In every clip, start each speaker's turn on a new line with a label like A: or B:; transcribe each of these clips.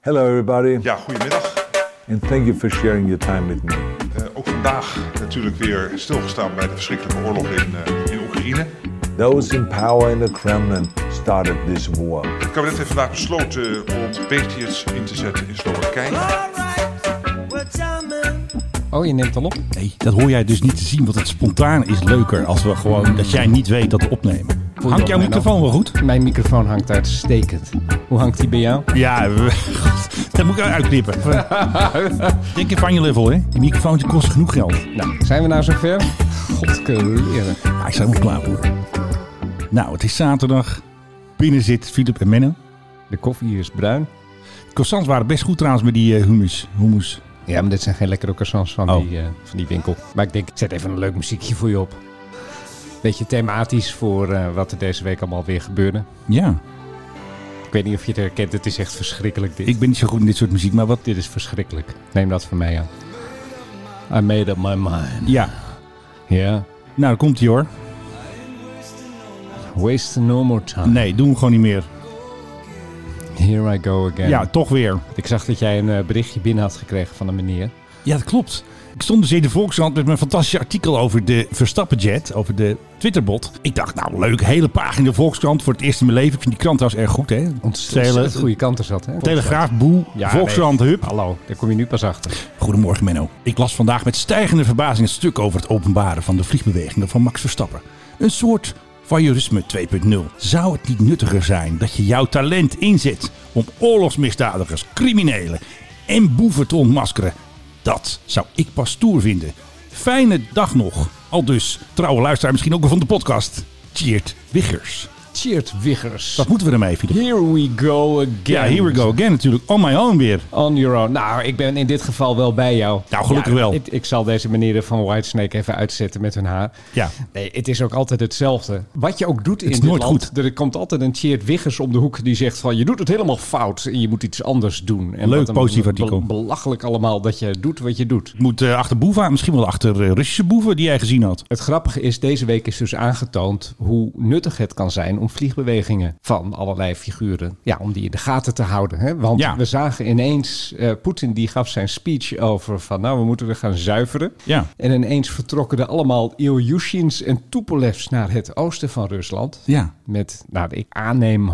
A: Hello, everybody,
B: Ja, goedemiddag.
A: and thank you for sharing your time with me.
B: Eh, ook vandaag natuurlijk weer stilgestaan bij de verschrikkelijke oorlog in, eh, in Oekraïne.
A: Those in power in the Kremlin started this war.
B: Het kabinet heeft vandaag besloten eh, om Patriots in te zetten in Slowakije.
C: Alright, we're jamming.
D: Oh, je neemt al op?
E: Nee, dat hoor jij dus niet te zien, want het spontaan is leuker als we gewoon dat jij niet weet dat we opnemen.
D: Voel je
E: Hangt jouw
D: opnemen?
E: microfoon wel goed?
D: Mijn microfoon hangt uitstekend. Hoe hangt die bij jou?
E: Ja, we- God, dat moet ik uitknippen. Denk even aan je level, hè? Die microfoon kost genoeg geld.
D: Nou, zijn we nou zover? God leren.
E: Ja, Ah, ik sta helemaal klaar voor. Nou, het is zaterdag. Binnen zit Filip en Menno.
D: De koffie is bruin.
E: De croissants waren best goed trouwens met die eh, hummus. hummus.
D: Ja, maar dit zijn geen lekkere croissants van,
E: Oh.
D: die, eh, van die winkel. Maar ik denk, ik zet even een leuk muziekje voor je op. Beetje thematisch voor eh, wat er deze week allemaal weer gebeurde.
E: Ja,
D: Ik weet niet of je het herkent, het is echt verschrikkelijk dit.
E: ik ben niet zo goed in dit soort muziek, maar wat...
D: Dit is verschrikkelijk. Neem dat van mij aan. I made up my mind.
E: Ja,
D: Ja.
E: nou, daar komt hij hoor.
D: Waste no more time.
E: Nee, doen we gewoon niet meer.
D: Here I go again.
E: Ja, toch weer.
D: Ik zag dat jij een eh, berichtje binnen had gekregen van een meneer.
E: Ja, dat klopt. Ik stond dus in de Volkskrant met mijn fantastische artikel over de Verstappenjet, over de Twitterbot. Ik dacht, nou leuk, hele pagina de Volkskrant voor het eerst in mijn leven. Ik vind die krant trouwens erg goed, hè?
D: Ontzettend goede kant is dat, hè?
E: Telegraaf, Boe,
D: Ja,
E: Volkskrant,
D: nee.
E: Hup.
D: Hallo, daar kom je nu pas achter.
E: Goedemorgen, Menno. Ik las vandaag met stijgende verbazing het stuk over het openbaren van de vliegbewegingen van Max Verstappen. Een soort voyeurisme 2.0. Zou het niet nuttiger zijn dat je jouw talent inzet om oorlogsmisdadigers, criminelen en boeven te ontmaskeren? Dat zou ik pas stoer vinden. Fijne dag nog. Al dus, trouwe luisteraar misschien ook wel van de podcast. Cheert Wiggers.
D: Cheert Wiggers.
E: Wat moeten we ermee, Filip?
D: Here we go again.
E: Ja, here we go again natuurlijk. On my own weer.
D: On your own. Nou, ik ben in dit geval wel bij jou.
E: Nou, gelukkig
D: Ja,
E: wel.
D: Ik, ik zal deze manieren van Whitesnake even uitzetten met hun haar.
E: Ja.
D: Nee, het is ook altijd hetzelfde. Wat je ook doet in
E: is
D: dit
E: nooit
D: land,
E: goed.
D: Er komt altijd een Cheert Wiggers om de hoek die zegt van... je doet het helemaal fout en je moet iets anders doen. En
E: Leuk,
D: wat een
E: positief
D: be-
E: artikel.
D: Belachelijk allemaal dat je doet wat je doet.
E: Ik moet eh, achter boeven aan, misschien wel achter eh, Russische boeven die jij gezien had.
D: Het grappige is, deze week is dus aangetoond hoe nuttig het kan zijn om vliegbewegingen van allerlei figuren, ja, om die in de gaten te houden. Hè? Want
E: Ja.
D: we zagen ineens, eh, Poetin die gaf zijn speech over van, nou, we moeten er gaan zuiveren.
E: Ja.
D: En ineens vertrokken er allemaal Ilyushins en Tupolevs naar het oosten van Rusland.
E: Ja.
D: Met, nou, ik aanneem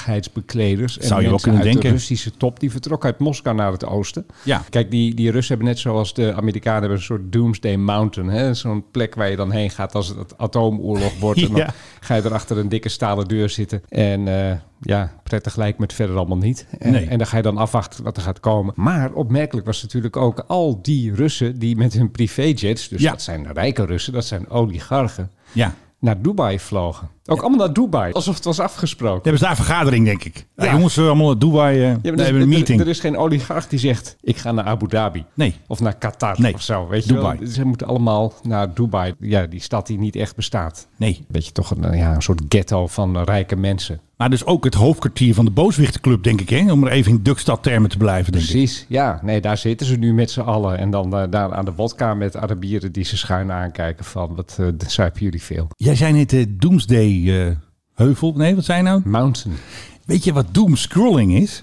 D: hoogwaardigheidsbekleders. En
E: Zou je wel
D: mensen
E: kunnen
D: uit
E: denken.
D: De Russische top, die vertrok uit Moskou naar het oosten.
E: Ja.
D: Kijk, die, die Russen hebben net zoals de Amerikanen hebben een soort Doomsday Mountain. hè? Zo'n plek waar je dan heen gaat als het atoomoorlog wordt. En dan
E: Ja.
D: ga je er achter een dikke stalen deur zitten. En eh, ja, prettig lijkt me het verder allemaal niet. En,
E: Nee.
D: en dan ga je dan afwachten wat er gaat komen. Maar opmerkelijk was natuurlijk ook al die Russen die met hun privéjets... dus
E: Ja.
D: dat zijn rijke Russen, dat zijn oligarchen...
E: Ja.
D: naar Dubai vlogen. Ook allemaal naar Dubai, alsof het was afgesproken.
E: Dan hebben ze daar een vergadering, denk ik. Ja.
D: Ja.
E: jongens, we allemaal naar Dubai. eh
D: Ja,
E: we
D: maar dus
E: hebben
D: er-
E: een
D: er-
E: meeting.
D: Er, is geen oligarch die zegt: ik ga naar Abu Dhabi.
E: Nee.
D: Of naar Qatar
E: Nee.
D: of zo. Weet
E: Dubai.
D: Je wel? Ze moeten allemaal naar Dubai. Ja, die stad die niet echt bestaat.
E: Nee.
D: Weet je toch een, eh, ja, een soort ghetto van eh, rijke mensen.
E: Maar dus ook het hoofdkwartier van de Booswichtenclub, denk ik. Hè? Om er even in Dukstad termen te blijven, denk ik.
D: Precies. Ja, nee, daar zitten ze nu met z'n allen. En dan eh, daar aan de wodka met Arabieren die ze schuin aankijken: van wat eh zuipen jullie veel?
E: Jij zei net eh, Doomsday eh, Heuvel. Nee, wat zei je nou?
D: Mountain.
E: Weet je wat doomscrolling is?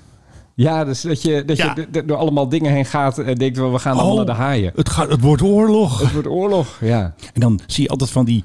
D: Ja, dus dat je, dat
E: Ja. Oh.
D: je d- d- door allemaal dingen heen gaat en denkt: wel, we gaan allemaal naar de haaien.
E: Het, gaat, het wordt oorlog.
D: Het wordt oorlog, ja.
E: En dan zie je altijd van die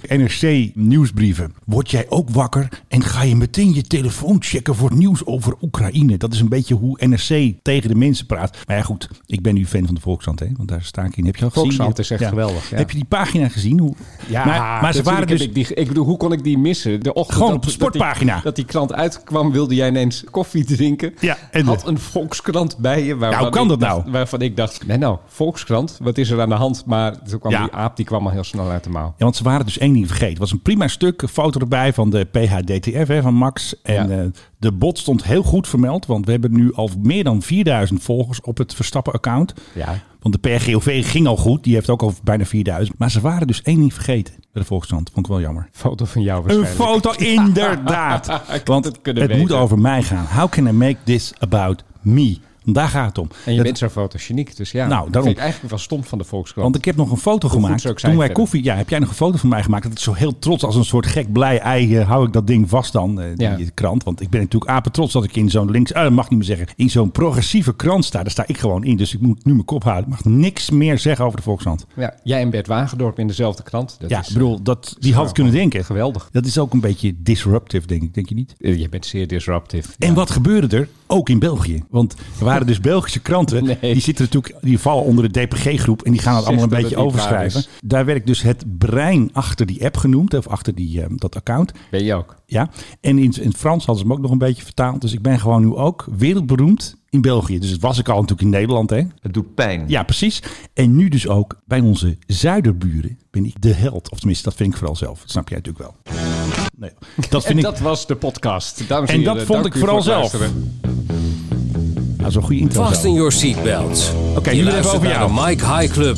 E: NRC-nieuwsbrieven. Word jij ook wakker en ga je meteen je telefoon checken voor het nieuws over Oekraïne? Dat is een beetje hoe NRC tegen de mensen praat. Maar ja, goed, ik ben nu fan van de Volkskrant, hè? want daar sta ik in. Heb je al gezien?
D: Volkskrant is echt geweldig, ja.
E: Heb je die pagina gezien? Hoe...
D: Ja,
E: maar, maar ze waren
D: natuurlijk
E: dus.
D: heb ik, die, ik bedoel, hoe kon ik die missen? De ochtend
E: Gewoon
D: dat-
E: op de
D: dat die-
E: sportpagina.
D: Dat die, krant uitkwam, wilde jij ineens koffie drinken.
E: Ja, en
D: had
E: de-
D: een Volkskrant bij je. waarvan
E: hoe kan
D: ik
E: dat
D: dacht-
E: nou?
D: Waarvan ik dacht, nee nou, Volkskrant, wat is er aan de hand? Maar toen kwam
E: Ja.
D: die aap, die kwam al heel snel uit de mouw.
E: Ja, want ze waren dus één ding vergeten. Het was een prima stuk, een foto erbij van de PHDTF, hè, van Max. En
D: Ja.
E: eh, de bot stond heel goed vermeld, want we hebben nu al meer dan 4000 volgers op het Verstappen-account.
D: Ja.
E: Want de PRGOV ging al goed, die heeft ook al bijna 4000. Maar ze waren dus één ding vergeten bij de Volkskrant. Vond ik wel jammer.
D: Foto van jou
E: Een
D: waarschijnlijk.
E: foto, inderdaad.
D: Ik had
E: want
D: het
E: het,
D: kunnen weten.
E: moet over mij gaan. How can I make this about me? Daar gaat het om.
D: En je
E: Dat-
D: bent zo fotogeniek, dus ja.
E: Nou,
D: dat
E: daarom.
D: vind ik eigenlijk wel stom van de Volkskrant.
E: Want ik heb nog een foto
D: goed
E: gemaakt.
D: ze ook zijn
E: Toen wij
D: verder.
E: koffie... Ja, heb jij nog een foto van mij gemaakt? Dat is zo heel trots als een soort gek blij ei. eh, hou ik dat ding vast dan, eh, die
D: Ja.
E: krant. Want ik ben natuurlijk apen trots dat ik in zo'n links... ah, dat mag niet meer zeggen. In zo'n progressieve krant sta. Daar sta ik gewoon in. Dus ik moet nu mijn kop houden. Ik mag niks meer zeggen over de Volkskrant.
D: Ja, jij en Bert Wagendorp in dezelfde krant. Dat
E: ja,
D: is,
E: ik bedoel, dat, die had kunnen denken.
D: Geweldig.
E: Dat is ook een beetje disruptive, denk ik. Denk je niet?
D: eh, je bent zeer disruptief.
E: En wat gebeurde er? Ook in België. Want er waren dus Belgische kranten.
D: Nee.
E: Die, zitten natuurlijk, die vallen onder de DPG-groep. En die gaan dat
D: Zeg
E: allemaal een
D: dat
E: beetje
D: het niet waar
E: overschrijven.
D: is.
E: Daar werd ik dus het brein achter die app genoemd. Of achter die, ehm, dat account.
D: Ben je ook?
E: Ja. En in, in het Frans hadden ze hem ook nog een beetje vertaald. Dus ik ben gewoon nu ook wereldberoemd in België. Dus dat was ik al natuurlijk in Nederland. Hè?
F: Het doet pijn.
E: Ja, precies. En nu dus ook bij onze zuiderburen ben ik de held. Of tenminste, dat vind ik vooral zelf. Dat snap jij natuurlijk wel. Nee, dat vind
D: En
E: ik...
D: dat was de podcast. Dames en,
E: En
D: heren,
E: dat vond
D: dank
E: ik
D: u
E: vooral
D: voor het
E: zelf.
D: luisteren.
E: Nou, zo'n goede intro.
G: Vast
E: zo.
G: in your seatbelts.
E: Oké,
G: je
E: nu even
G: luistert
E: over
G: naar
E: jou.
G: de Mike High Club.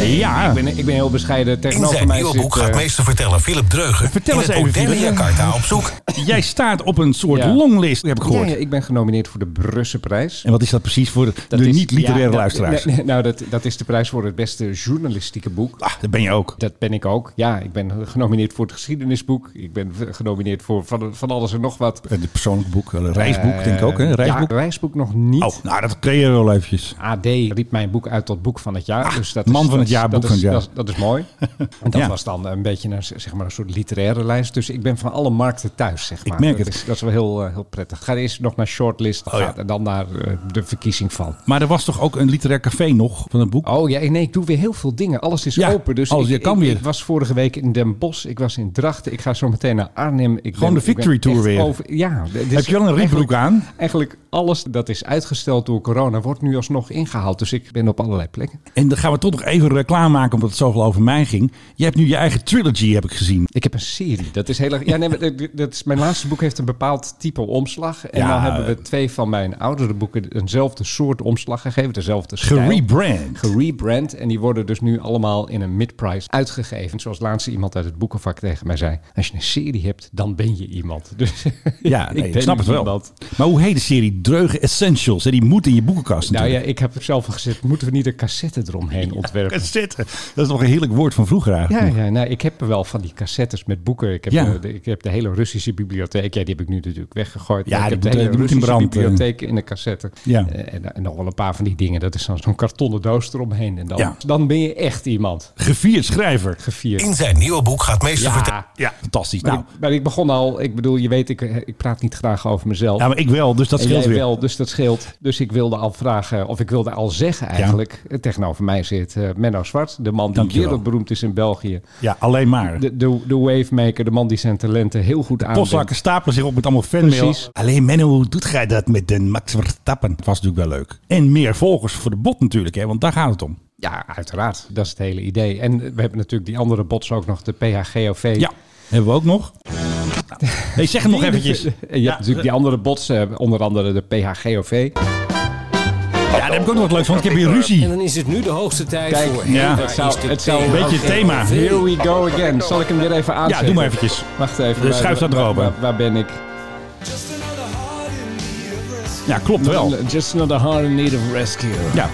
E: Ja.
D: Ik ben, ik ben heel bescheiden.
H: In
D: Tegenover
H: zijn
D: mij
H: nieuwe
D: zit,
H: boek
D: eh,
H: gaat meesterverteller Philip Dreugen
E: Vertel
H: in
E: eens
H: het
E: even,
H: moderne
E: Philip.
H: Jakarta op zoek.
E: Jij staat op een soort
D: Ja.
E: longlist, heb ik
D: ja,
E: gehoord.
D: ja, ik ben genomineerd voor de Brusselprijs.
E: En wat is dat precies voor de,
D: Dat
E: de
D: is-
E: niet-literaire
D: ja, dat-
E: luisteraars?
D: nee, nee, nou, dat, dat is de prijs voor het beste journalistieke boek.
E: Ah, dat ben je ook.
D: Dat ben ik ook. Ja, ik ben genomineerd voor het geschiedenisboek. Ik ben v- genomineerd voor van, van alles en nog wat. Eh,
E: Het Eh, persoonlijk boek, een reisboek denk ik ook. Hè? Een Reisboek.
D: Ja, reisboek nog niet.
E: Oh, nou dat kreeg je wel eventjes.
D: AD riep mijn boek uit tot boek van het jaar. dus dat
E: Ah, man
D: is,
E: van
D: dat
E: het jaar,
D: is-
E: boek
D: dat
E: van
D: is-
E: het jaar.
D: Dat, dat is mooi. En dat
E: Ja.
D: was dan een beetje een, zeg maar, een soort literaire lijst. Dus ik ben van alle markten thuis, zeg maar.
E: merk
D: dat
E: het. Oh,
D: Is, dat is wel heel, eh, heel prettig. Ik Ga eerst nog naar shortlist gaat, en dan naar eh, de verkiezing van.
E: Maar er was toch ook een literair café nog van het boek?
D: Oh ja, nee, ik doe weer heel veel dingen. Alles is
E: Ja,
D: open. Dus
E: alles,
D: ik,
E: je kan
D: ik-
E: weer.
D: ik was vorige week in Den Bosch. Ik was in Drachten. Ik ga zo meteen naar Arnhem. Ik
E: Gewoon de
D: ik
E: Victory Tour
D: echt
E: weer.
D: Over, ja. d- dit
E: Heb
D: is
E: je wel een rietbroek
D: eigenlijk-
E: aan?
D: Eigenlijk alles dat is uitgesteld door corona wordt nu alsnog ingehaald. Dus ik ben op allerlei plekken.
E: En dan gaan we toch nog even reclame maken, omdat het zoveel over mij ging. Je hebt nu je eigen trilogy, heb ik gezien.
D: Ik heb een serie. Dat is heel erg. Ja, nee, maar dat- dat is, mijn laatste boek heeft een bepaald type omslag. En
E: Ja. eh,
D: dan hebben we twee van mijn oudere boeken eenzelfde soort omslag gegeven. Dezelfde stijl.
E: Gerebrand.
D: gerebrand. En die worden dus nu allemaal in een mid-price uitgegeven. Zoals laatst iemand uit het boekenvak tegen mij zei. Als je een serie hebt, dan ben je iemand. Dus
E: Ja, nee, ik,
D: ben
E: snap het wel.
D: iemand.
E: Maar hoe heet de serie? Dreugen Essentials. Hè? Die moet in je boekenkast
D: Nou
E: natuurlijk.
D: ja, ik heb er zelf al gezegd, moeten we niet een cassette eromheen ontwerpen?
E: Cassette. Dat is nog een heerlijk woord van vroeger eigenlijk.
D: Ja, ja nou, ik heb wel van die cassettes met boeken. Ik heb,
E: Ja.
D: eh, de, ik heb de hele Russische bibliotheek. Ja, die heb ik nu natuurlijk weggegooid.
E: Ja,
D: Maar ik
E: die
D: heb de
E: moet-
D: hele
E: die moet in
D: Russische
E: brand, eh.
D: bibliotheek in de cassette.
E: Ja.
D: Eh, en, en nog wel een paar van die dingen. Dat is dan zo'n kartonnen doos eromheen. En dan,
E: Ja.
D: dan ben je echt iemand
E: Gevierd schrijver.
D: gevierd.
H: In zijn nieuwe boek gaat meesterverteller...
D: Ja.
E: Ja, fantastisch.
D: Maar,
E: Nou,
D: ik, maar ik begon al, ik bedoel, je weet, ik, eh, ik praat niet graag over mezelf.
E: ja, maar ik wel, dus dat
D: en
E: scheelt
D: jij
E: weer.
D: wel, dus dat scheelt. Dus ik wilde al vragen, of ik wilde al zeggen eigenlijk, eh, tegenover mij zit eh, Menno Zwart, de man die
E: Dankjewel.
D: wereldberoemd is in België.
E: Ja, alleen maar.
D: De, de, de wavemaker, de man die zijn talenten heel goed aanbrengt.
E: Postzakken stapelen zich op met allemaal fanmail.
D: Precies.
E: Alleen Menno, hoe doet gij dat met de Max Verstappen? Dat was natuurlijk wel leuk. En meer volgers voor de bot natuurlijk, hè, want daar gaat het om.
D: Ja, uiteraard. Dat is het hele idee. En we hebben natuurlijk die andere bots ook nog, de PHGOV.
E: Ja, hebben we ook nog. Hey, zeg het nog eventjes.
D: Je hebt natuurlijk die andere bots, eh, onder andere de PHGOV.
E: Ja, daar heb ik ook nog wat leuks, want ik heb hier
G: En
E: ruzie.
G: dan is het nu de hoogste tijd
D: Kijk,
G: voor...
E: ja,
G: Hey,
E: het
G: waar is
D: zou-
G: de
D: het zou een
G: PHGOV?
E: beetje het thema.
D: Here we go again. Zal ik hem weer even aanzetten?
E: Ja, doe maar eventjes.
D: Wacht even.
E: De
D: waar-
E: schuif staat
D: waar-
E: eropen.
D: Waar, waar ben ik?
E: Ja, klopt wel.
D: Just another heart in need of rescue.
E: Ja.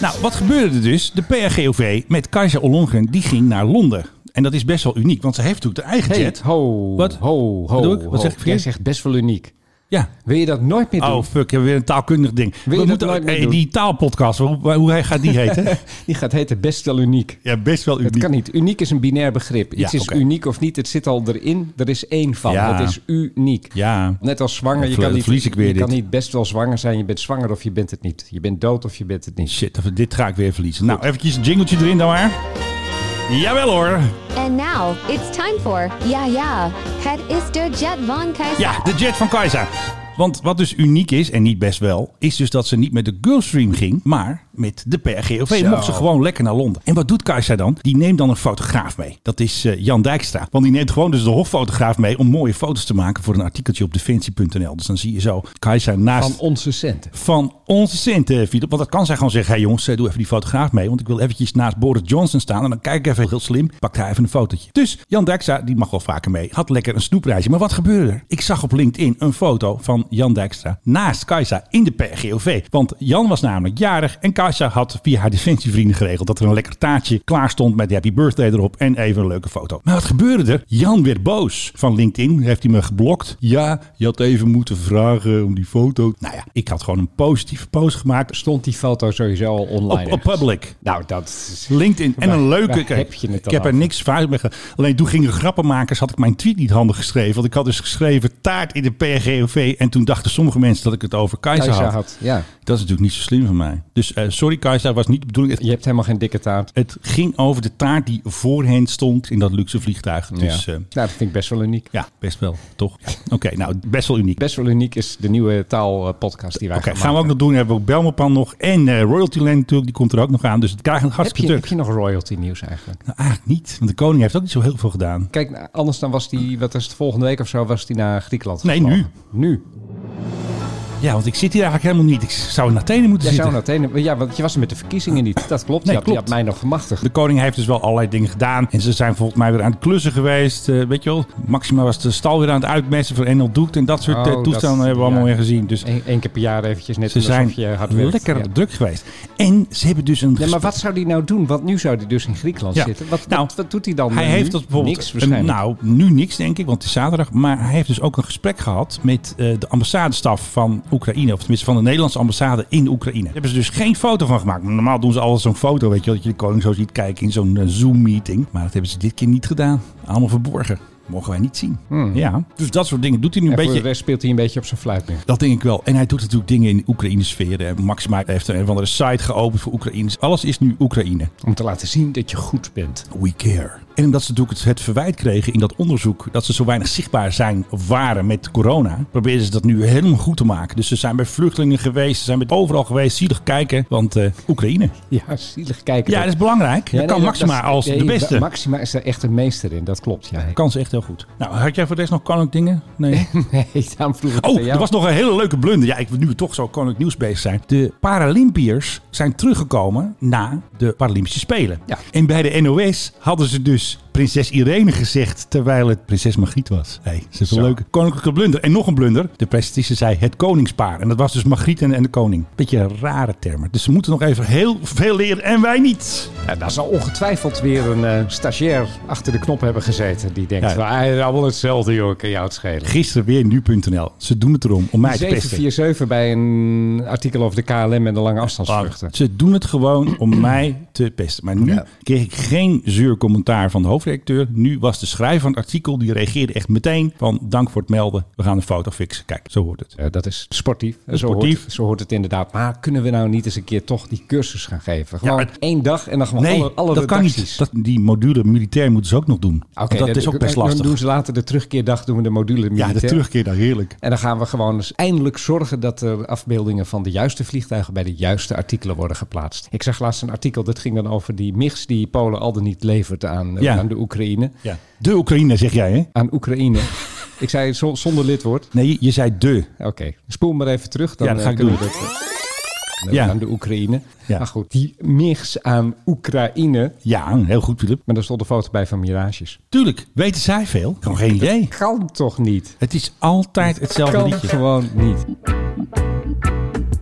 E: Nou, wat gebeurde er dus? De PRGOV met Kajsa Ollongren, die ging naar Londen. En dat is best wel uniek, want ze heeft natuurlijk de eigen
D: Hey,
E: jet.
D: ho,
E: Wat?
D: ho, ho.
E: Wat doe ik?
D: ho.
E: Wat zeg
D: Jij
E: ik verkeerd?
D: zegt best wel uniek.
E: Ja,
D: Wil je dat nooit meer doen?
E: Oh, fuck, we hebben weer een taalkundig ding.
D: je
E: we
D: dat
E: moeten,
D: nooit meer
E: hey,
D: doen?
E: die taalpodcast, hoe, hoe gaat die heten?
D: Die gaat heten best wel uniek.
E: ja, best wel
D: Het kan niet. Uniek is een binair begrip. Iets
E: Ja,
D: is
E: oké.
D: uniek of niet. Het zit al erin. Er is één van.
E: Ja.
D: Het is uniek.
E: Ja,
D: Net als zwanger.
E: Dan
D: Je
E: ver-
D: kan, niet,
E: verlies ik weer
D: je
E: dit.
D: kan niet best wel zwanger zijn. Je bent zwanger of je bent het niet. Je bent dood of je bent het niet.
E: shit, dat- dit ga ik weer verliezen. Nou, eventjes een jingletje erin dan maar. Jawel hoor.
I: And now it's time for Yeah Yeah. Het is de Jet von Kaiser.
E: Ja, de jet van Kaiza. Want wat dus uniek is, en niet best wel, is dus dat ze niet met de Girlstream ging, maar met de PRGOV.
D: Zo.
E: Mocht ze gewoon lekker naar Londen. En wat doet Kaiza dan? Die neemt dan een fotograaf mee. Dat is eh, Jan Dijkstra. Want die neemt gewoon dus de hoffotograaf mee om mooie foto's te maken voor een artikeltje op defensie.nl. Dus dan zie je zo Kaiza naast...
D: Van onze centen.
E: van onze centen, Philip. Want dat kan zij gewoon zeggen: hé hey jongens, eh, doe even die fotograaf mee. Want ik wil eventjes naast Boris Johnson staan. En dan kijk ik even heel slim. Pak daar even een fotootje. Dus Jan Dijkstra, die mag wel vaker mee. Had lekker een snoepreisje. Maar wat gebeurde er? Ik zag op LinkedIn een foto van Jan Dijkstra naast Kajsa in de PRGOV. Want Jan was namelijk jarig en Kajsa had via haar defensievrienden geregeld dat er een lekker taartje klaar stond met happy birthday erop en even een leuke foto. Maar wat gebeurde er? Jan werd boos. Van LinkedIn heeft hij me geblokt. Ja, je had even moeten vragen om die foto. Nou ja, ik had gewoon een positieve post gemaakt
D: Stond die foto sowieso al online?
E: op, op
D: ergens?
E: public.
D: Nou, dat is...
E: LinkedIn en
D: Waar-
E: een leuke.
D: waar
E: Kijk,
D: heb je het
E: ik
D: dan
E: heb er
D: over?
E: niks fout mee gedaan. Alleen toen gingen grappenmakers, had ik mijn tweet niet handig geschreven. Want ik had dus geschreven taart in de PRGOV. En toen dachten sommige mensen dat ik het over Keizer
D: Kajsa
E: had.
D: had. Ja.
E: Dat is natuurlijk niet zo slim van mij. Dus eh, sorry Keizer, was niet de bedoeling.
D: Je
E: Het,
D: hebt helemaal geen dikke taart.
E: het ging over de taart die voor hen stond in dat luxe vliegtuig. Dus
D: ja.
E: ja,
D: Nou, dat vind ik best wel uniek.
E: ja best wel, toch? Ja. Oké, nou best wel uniek.
D: Best wel uniek is de nieuwe taalpodcast die wij
E: Oké,
D: gaan,
E: gaan we ook nog
D: maken.
E: doen. We hebben ook Belmopan nog. En eh Royalty Land natuurlijk, die komt er ook nog aan. Dus het krijgt een
D: heb je,
E: hartstikke
D: heb
E: druk.
D: je nog royalty nieuws eigenlijk?
E: Nou, eigenlijk niet. Want de koning heeft ook niet zo heel veel gedaan.
D: Kijk, nou, anders dan was die, wat is het, volgende week of zo, was die naar Griekenland
E: Nee,
D: gevlogen. Nu?
E: Ja, want ik zit hier eigenlijk helemaal niet. Ik zou in Athene moeten
D: Jij zou
E: zitten.
D: naar Athene, maar ja, want je was er met de verkiezingen niet. Dat klopt,
E: Nee,
D: je, had, je
E: klopt.
D: had mij nog gemachtigd.
E: De koning heeft dus wel allerlei dingen gedaan. En ze zijn volgens mij weer aan het klussen geweest. Eh, weet je wel, Maxima was de stal weer aan het uitmessen voor Enel Doekt. En dat soort
D: Oh,
E: eh,
D: dat-
E: toestanden hebben we allemaal
D: ja.
E: weer gezien. Dus
D: Eén één keer per jaar eventjes net
E: ze
D: alsof
E: zijn
D: je hard werkt.
E: lekker
D: Ja.
E: druk geweest. En ze hebben dus een...
D: Ja,
E: gesprek-
D: maar wat zou die nou doen? Want nu zou die dus in Griekenland
E: Ja.
D: zitten. Wat,
E: Nou,
D: wat, wat doet hij dan
E: Hij
D: nu?
E: heeft dat bijvoorbeeld...
D: Niks
E: een-
D: waarschijnlijk.
E: nou, nu niks denk ik, want het is zaterdag. Maar hij heeft dus ook een gesprek gehad met eh, de ambassadestaf van Oekraïne. Of tenminste van de Nederlandse ambassade in Oekraïne. Daar hebben ze dus geen foto van gemaakt. Normaal doen ze altijd zo'n foto, weet je wel. Dat je de koning zo ziet kijken in zo'n eh, Zoom-meeting. Maar dat hebben ze dit keer niet gedaan. Allemaal verborgen. Mogen wij niet zien. Ja, dus dat soort dingen doet hij nu een
D: Hmm. en voor
E: beetje.
D: de rest speelt hij een beetje op zijn fluit nu.
E: Dat denk ik wel. En hij doet natuurlijk dingen in de Oekraïne-sfeer. hè. Maxima heeft een of andere site geopend voor Oekraïners. Alles is nu Oekraïne.
D: Om te laten zien dat je goed bent.
E: We care. En omdat ze natuurlijk het, het verwijt kregen in dat onderzoek dat ze zo weinig zichtbaar zijn of waren met corona, proberen ze dat nu helemaal goed te maken. Dus ze zijn bij vluchtelingen geweest, ze zijn met overal geweest, zielig kijken, want eh, Oekraïne.
D: Ja, zielig kijken.
E: Ja, dat is belangrijk.
D: Ja,
E: dat
D: nee,
E: kan Maxima
D: dat-
E: als
D: nee,
E: de beste.
D: Maxima is daar echt een meester in, dat klopt. Ja.
E: Kans echt heel goed. Nou, had jij voor de rest nog koninklijk dingen? Nee.
D: Nee, daarom vroeg ik het aan
E: Oh,
D: jou.
E: er was nog een hele leuke blunder. Ja, ik wil nu we toch zo koninklijk nieuws bezig zijn. De Paralympiërs zijn teruggekomen na de Paralympische Spelen.
D: Ja.
E: En bij de NOS hadden ze dus prinses Irene gezegd terwijl het prinses Margriet was. Hey, ze heeft een
D: Zo.
E: leuke koninklijke blunder. En nog een blunder. De presentatrice zei het koningspaar. En dat was dus Margriet en, en de koning. Beetje een rare termen. Dus ze moeten nog even heel veel leren en wij niet.
D: Ja, daar zal ongetwijfeld weer een eh, stagiair achter de knop hebben gezeten. Die denkt,
E: Ja.
D: "Nou, hij is allemaal hetzelfde joh, kan jou het schelen.
E: Gisteren weer nu.nl. Ze doen het erom om mij te pesten.
D: 747 bij een artikel over de KLM en de lange afstandsvluchten.
E: Ze doen het gewoon om mij te pesten. Maar nu
D: Ja.
E: kreeg ik geen zuur commentaar van de hoofdredacteur. Nu was de schrijver van het artikel, die reageerde echt meteen van dank voor het melden. We gaan de foto fixen. Kijk, zo hoort het.
D: Eh, dat is sportief. zo,
E: sportief.
D: Hoort, zo hoort het inderdaad. Maar kunnen we nou niet eens een keer toch die cursus gaan geven? Gewoon
E: maar-
D: één dag en dan gewoon
E: Nee,
D: alle, alle
E: dat kan
D: redacties.
E: niet. Dat, die module militair moeten ze ook nog doen.
D: Oké,
E: dat is ook best lastig.
D: Dan doen ze later de terugkeerdag, doen we de module
E: ja, de
D: militair.
E: terugkeer daar heerlijk.
D: En dan gaan we gewoon eens eindelijk zorgen dat er afbeeldingen van de juiste vliegtuigen bij de juiste artikelen worden geplaatst. Ik zag laatst een artikel dat ging dan over die mix die Polen al dan niet levert aan, eh,
E: Ja.
D: aan de Oekraïne.
E: Ja. De Oekraïne zeg jij, hè?
D: Aan Oekraïne. Ik zei het zo- zonder lidwoord.
E: Nee, je zei de.
D: Oké, spoel maar even terug. Dan,
E: Ja, dat
D: eh,
E: ga ik
D: kunnen
E: doen.
D: we dat, eh,
E: Ja.
D: Aan de Oekraïne.
E: Ja.
D: Maar goed, die mix aan Oekraïne.
E: Ja, heel goed, Philip.
D: Maar daar stond een foto bij van Mirages.
E: Tuurlijk, weten zij veel? Gewoon geen idee.
D: Kan toch niet?
E: Het is altijd hetzelfde
D: Kan
E: liedje.
D: gewoon niet.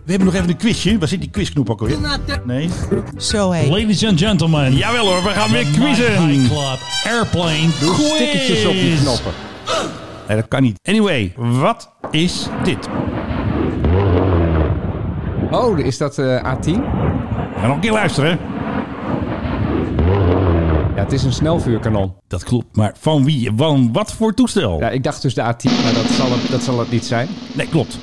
E: We hebben nog even een quizje. Waar zit die quizknop ook alweer? Nee.
F: Zo hé.
J: Ladies and gentlemen,
E: Jawel hoor, we gaan weer
J: the
E: quizzen.
J: Mile High Club Airplane
D: Doe
J: Quiz.
D: stickertjes op die knoppen.
E: Nee, dat kan niet. Anyway, wat is dit?
D: Oh, is dat eh, A10?
E: Ga nog een keer luisteren.
D: Ja, het is een snelvuurkanon.
E: Dat klopt, maar van wie? Van wat voor toestel?
D: Ja, ik dacht dus de A10, maar dat zal het, dat zal het niet zijn.
E: Nee, klopt.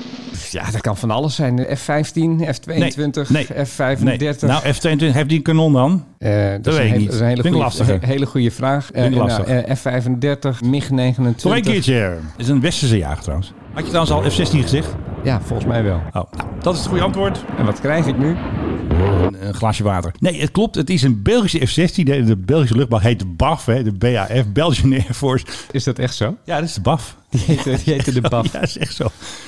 D: Ja, Ah, dat kan van alles zijn. De F15, F22,
E: nee,
D: F35.
E: Nee. Nou, F22, heeft die een kanon dan?
D: Eh, dat, is
E: weet
D: een
E: ik
D: hele-
E: niet.
D: dat is een hele
E: Vind ik
D: goede,
E: lastiger.
D: he- hele goede vraag. Eh,
E: Vind ik
D: nou,
E: lastig.
D: eh, F35, MiG 29.
E: Nog een keertje. Het is een westerse jager trouwens. Had je trouwens al F16 gezegd?
D: Ja, volgens mij wel.
E: Oh, nou, dat is het goede antwoord.
D: En wat krijg ik nu?
E: Een, een glaasje water. Nee, het klopt. Het is een Belgische F16. De, de Belgische luchtmacht heet BAF, hè, de BAF, Belgian Air Force.
D: Is dat echt zo?
E: Ja, dat is de BAF.
D: Die heette, die heette de BAF.
E: Ja, is echt zo.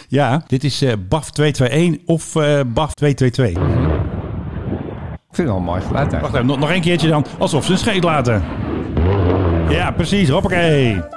E: Ja, dit is eh, BAF 221 of eh, BAF 222.
D: Ik vind het wel een mooi geluid
E: Wacht
D: eigenlijk.
E: even, nog, nog een keertje dan. Alsof ze een scheet laten. Ja, precies. Hoppakee.
D: De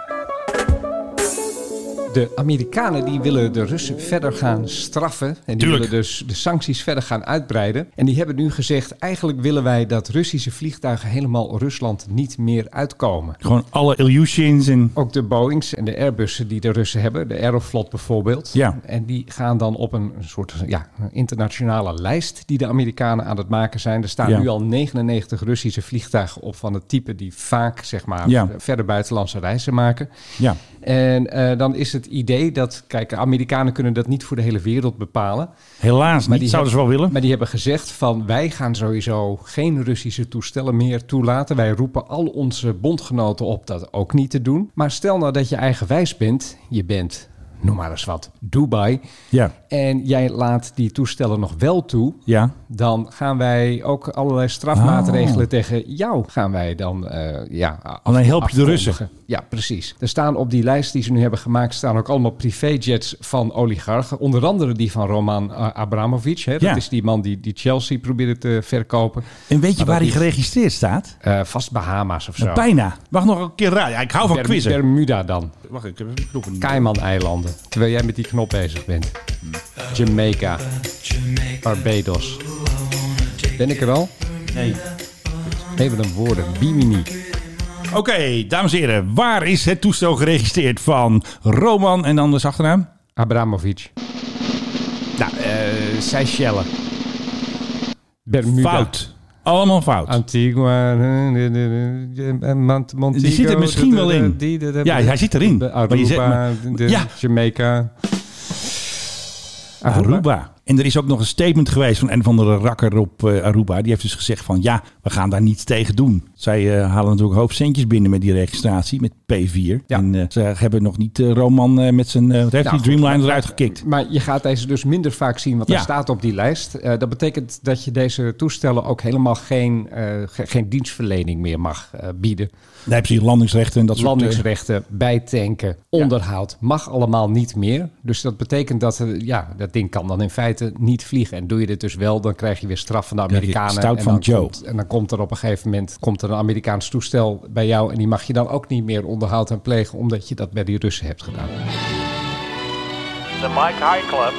D: de Amerikanen die willen de Russen verder gaan straffen. En die
E: Tuurlijk.
D: willen dus de sancties verder gaan uitbreiden. En die hebben nu gezegd, eigenlijk willen wij dat Russische vliegtuigen helemaal Rusland niet meer uitkomen.
E: Gewoon alle Ilyushins en...
D: Ook de Boeings en de Airbussen die de Russen hebben, de Aeroflot bijvoorbeeld.
E: Ja.
D: En die gaan dan op een soort ja, internationale lijst die de Amerikanen aan het maken zijn. Er staan
E: Ja.
D: nu al 99 Russische vliegtuigen op van het type die vaak zeg maar,
E: Ja.
D: verder buitenlandse reizen maken.
E: Ja.
D: En eh, dan is het idee dat, kijk, de Amerikanen kunnen dat niet voor de hele wereld bepalen.
E: Helaas
D: Maar
E: niet,
D: die
E: zouden ze wel
D: hebben-
E: willen.
D: Maar die hebben gezegd van wij gaan sowieso geen Russische toestellen meer toelaten. Wij roepen al onze bondgenoten op dat ook niet te doen. Maar stel nou dat je eigenwijs bent. Je bent, noem maar eens wat, Dubai.
E: Ja.
D: En jij laat die toestellen nog wel toe.
E: Ja.
D: Dan gaan wij ook allerlei strafmaatregelen
E: Oh.
D: tegen jou gaan wij dan eh, ja, af-
E: Alleen Oh, help je de Russen.
D: afkondigen. Ja, precies. Er staan op die lijst die ze nu hebben gemaakt, staan ook allemaal privéjets van oligarchen. Onder andere die van Roman eh, Abramovich. Hè? Dat
E: Ja.
D: is die man die, die Chelsea probeerde te verkopen.
E: En weet je
D: Maar
E: waar
D: dat
E: hij
D: is-
E: geregistreerd staat?
D: Eh, vast Bahama's of zo.
E: Bijna. Mag nog een keer raden. Ja, ik hou van
D: Berm-
E: quizzen.
D: Bermuda dan.
E: Wacht, ik heb even knoppen.
D: Cayman-eilanden. Terwijl jij met die knop bezig bent. Jamaica. Barbados. Ben ik er al?
E: Nee.
D: Even een woorden. Bimini.
E: Oké, dames en heren. Waar is het toestel geregistreerd van Roman en anders achternaam?
D: Abramovic. Nou, eh Seychellen. Bermuda.
E: Fout. Allemaal fout.
D: Antigua. eh, eh, eh, Mont- Montego.
E: Die zit er misschien
D: de-
E: wel
D: de-
E: in.
D: die- de- de-
E: Ja, hij zit erin.
D: de
E: Maar je zegt
D: Aruba,
E: maar-
D: de-
E: Ja.
D: Jamaica.
E: Aruba. En er is ook nog een statement geweest van een van de rakker op eh, Aruba. Die heeft dus gezegd van ja, we gaan daar niets tegen doen. Zij eh, halen natuurlijk een hoop centjes binnen met die registratie, met P4. En eh, ze hebben nog niet eh, Roman eh, met zijn eh wat heeft
D: Nou,
E: die Dreamliner eruit gekikt.
D: Maar je gaat deze dus minder vaak zien, want
E: Ja.
D: hij staat op die lijst. Eh, dat betekent dat je deze toestellen ook helemaal geen, eh, ge- geen dienstverlening meer mag eh, bieden.
E: Daar hebben ze hier landingsrechten en dat soort... eh,
D: Landingsrechten, bijtanken, onderhoud mag allemaal niet meer. Dus dat betekent dat eh, ja, dat ding kan dan in feite niet vliegen. En doe je dit dus wel, dan krijg je weer straf van de
E: Krijg je
D: Amerikanen.
E: stout
D: en
E: van
D: dan
E: Joe.
D: Komt, en dan komt er op een gegeven moment komt er een Amerikaans toestel bij jou. En die mag je dan ook niet meer onderhoud en plegen, omdat je dat bij die Russen hebt gedaan.
F: De Mike High Club,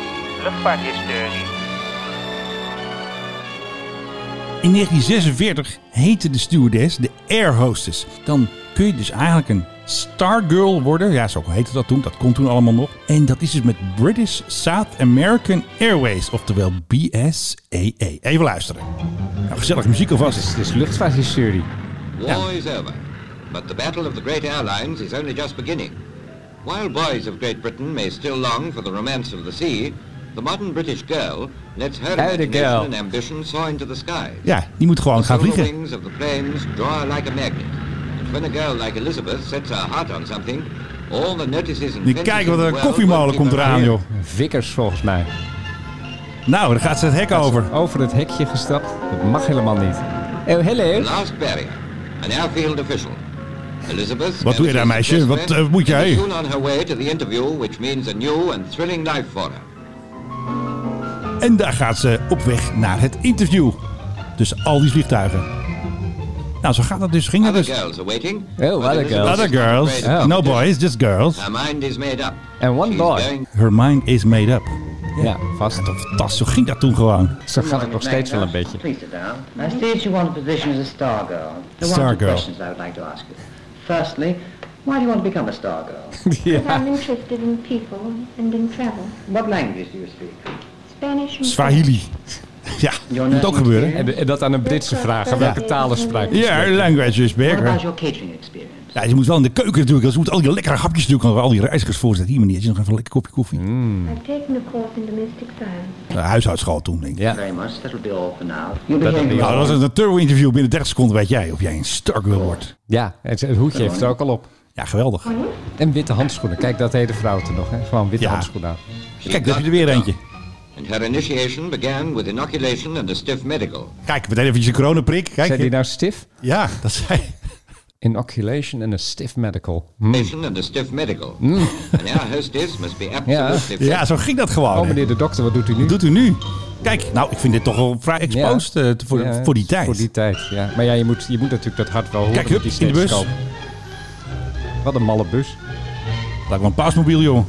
F: luchtvaarthistorie.
E: In 1946 heette de stewardess de Air Hostess. Dan kun je dus eigenlijk een Stargirl worden. Ja, zo heette dat toen. Dat kon toen allemaal nog. En dat is dus met British South American Airways, oftewel BSAA. Even luisteren. Nou, gezellig muziek alvast.
D: Het is luchtvaarthistorie.
K: War is over, but the battle of the great airlines is only just beginning. While boys of Great Britain may still long for the romance of the sea, the modern British girl lets her
D: Howdy,
K: imagination
D: girl.
K: and ambition soar into the sky.
E: Ja, die moet gewoon gaan
K: The solar
E: vliegen.
K: wings of the planes draw her like a magnet. And when a girl like Elizabeth sets her heart on something, all the notices and
E: Nu
K: fences
E: kijk wat
K: in
E: er
K: the
E: een
K: world won't
E: koffiemolen
K: keep
E: komt
K: her
E: eraan,
K: away.
E: joh.
D: Vickers volgens mij.
E: Nou, daar gaat ze het hek over.
D: Over het hekje gestapt. Dat mag helemaal niet. Oh,
K: The
D: hello.
K: last barrier, an airfield official. Elizabeth
E: Wat doe je daar, meisje? Wat, eh, moet jij?
K: is Soon on her way to the interview, which means a new and thrilling life for her.
E: En daar gaat ze op weg naar het interview. Dus al die vliegtuigen. Nou, zo gaat dat dus. Ging dat
K: Other
E: dus.
K: girls are waiting.
D: Oh,
K: but
D: other
K: Elizabeth
D: girls. Oh.
E: Other girls.
K: is not afraid
E: No
K: of competition.
E: boys, just girls.
K: Her mind is made up.
D: And one
K: She's
D: boy.
K: going
E: Her mind is made up.
D: Ja, vast.
E: Fantastisch, zo ging dat toen gewoon.
D: Zo gaat het nog steeds wel een beetje.
F: Please sit down. I see that you want a position as a star girl. There
E: Star
F: are one or two
E: girl.
F: questions I would like to ask you. Firstly, why do you want to become a star girl?
D: Ja.
I: interested in people and in travel.
F: What language do you speak?
I: Spanish and
E: Swahili. Ja, moet ook gebeuren.
D: En, en dat aan een Britse vragen. Welke talen spraak je?
E: Ja, language is
F: What about
E: back.
F: your catering experience?
E: Ja, je moet wel in de keuken natuurlijk. want Ze moeten al die lekkere hapjes natuurlijk. want Al die reizigers voor zich. Hier meneer, je nog even een lekker kopje koffie.
D: Mm.
I: I've taken a course in domestic science.
E: Eh, huishoudschool toen, denk ik.
D: Ja.
F: Very much. That'll be all for now. You'll be
D: That'll
F: hearing
D: be
F: from
E: Nou, dat was een turbo-interview. Binnen 30 seconden weet jij of jij een stark wil wordt.
D: Ja, het, het hoedje heeft er ook al op.
E: Ja, geweldig.
D: En witte handschoenen. Kijk, dat hele vrouwtje nog. Hè? Gewoon witte
E: Ja.
D: handschoenen aan.
E: Kijk, daar heb je er weer eentje.
K: And her initiation began with inoculation and a stiff medical.
E: Kijk, meteen eventjes een coronaprik.
D: Zijn die
E: Kijk,
D: nou stif?
E: ja, dat zei
D: Inoculation en een stiff medical. Hm.
K: Patient and a stiff medical. An air hostess must be
D: Yeah.
K: absolutely fit.
E: Ja, zo ging dat
D: Oh,
E: gewoon. hè.
D: meneer de dokter, wat doet u nu?
E: Wat doet u nu? Kijk, nou, ik vind dit toch wel vrij exposed eh, te- voor,
D: Ja,
E: voor die tijd.
D: Voor die tijd, ja. Maar ja, je moet, je moet natuurlijk dat hart wel horen.
E: Kijk,
D: met
E: hup,
D: die
E: in de bus.
D: stethoscoop. Wat een malle bus.
E: Lijkt wel een paasmobiel, joh.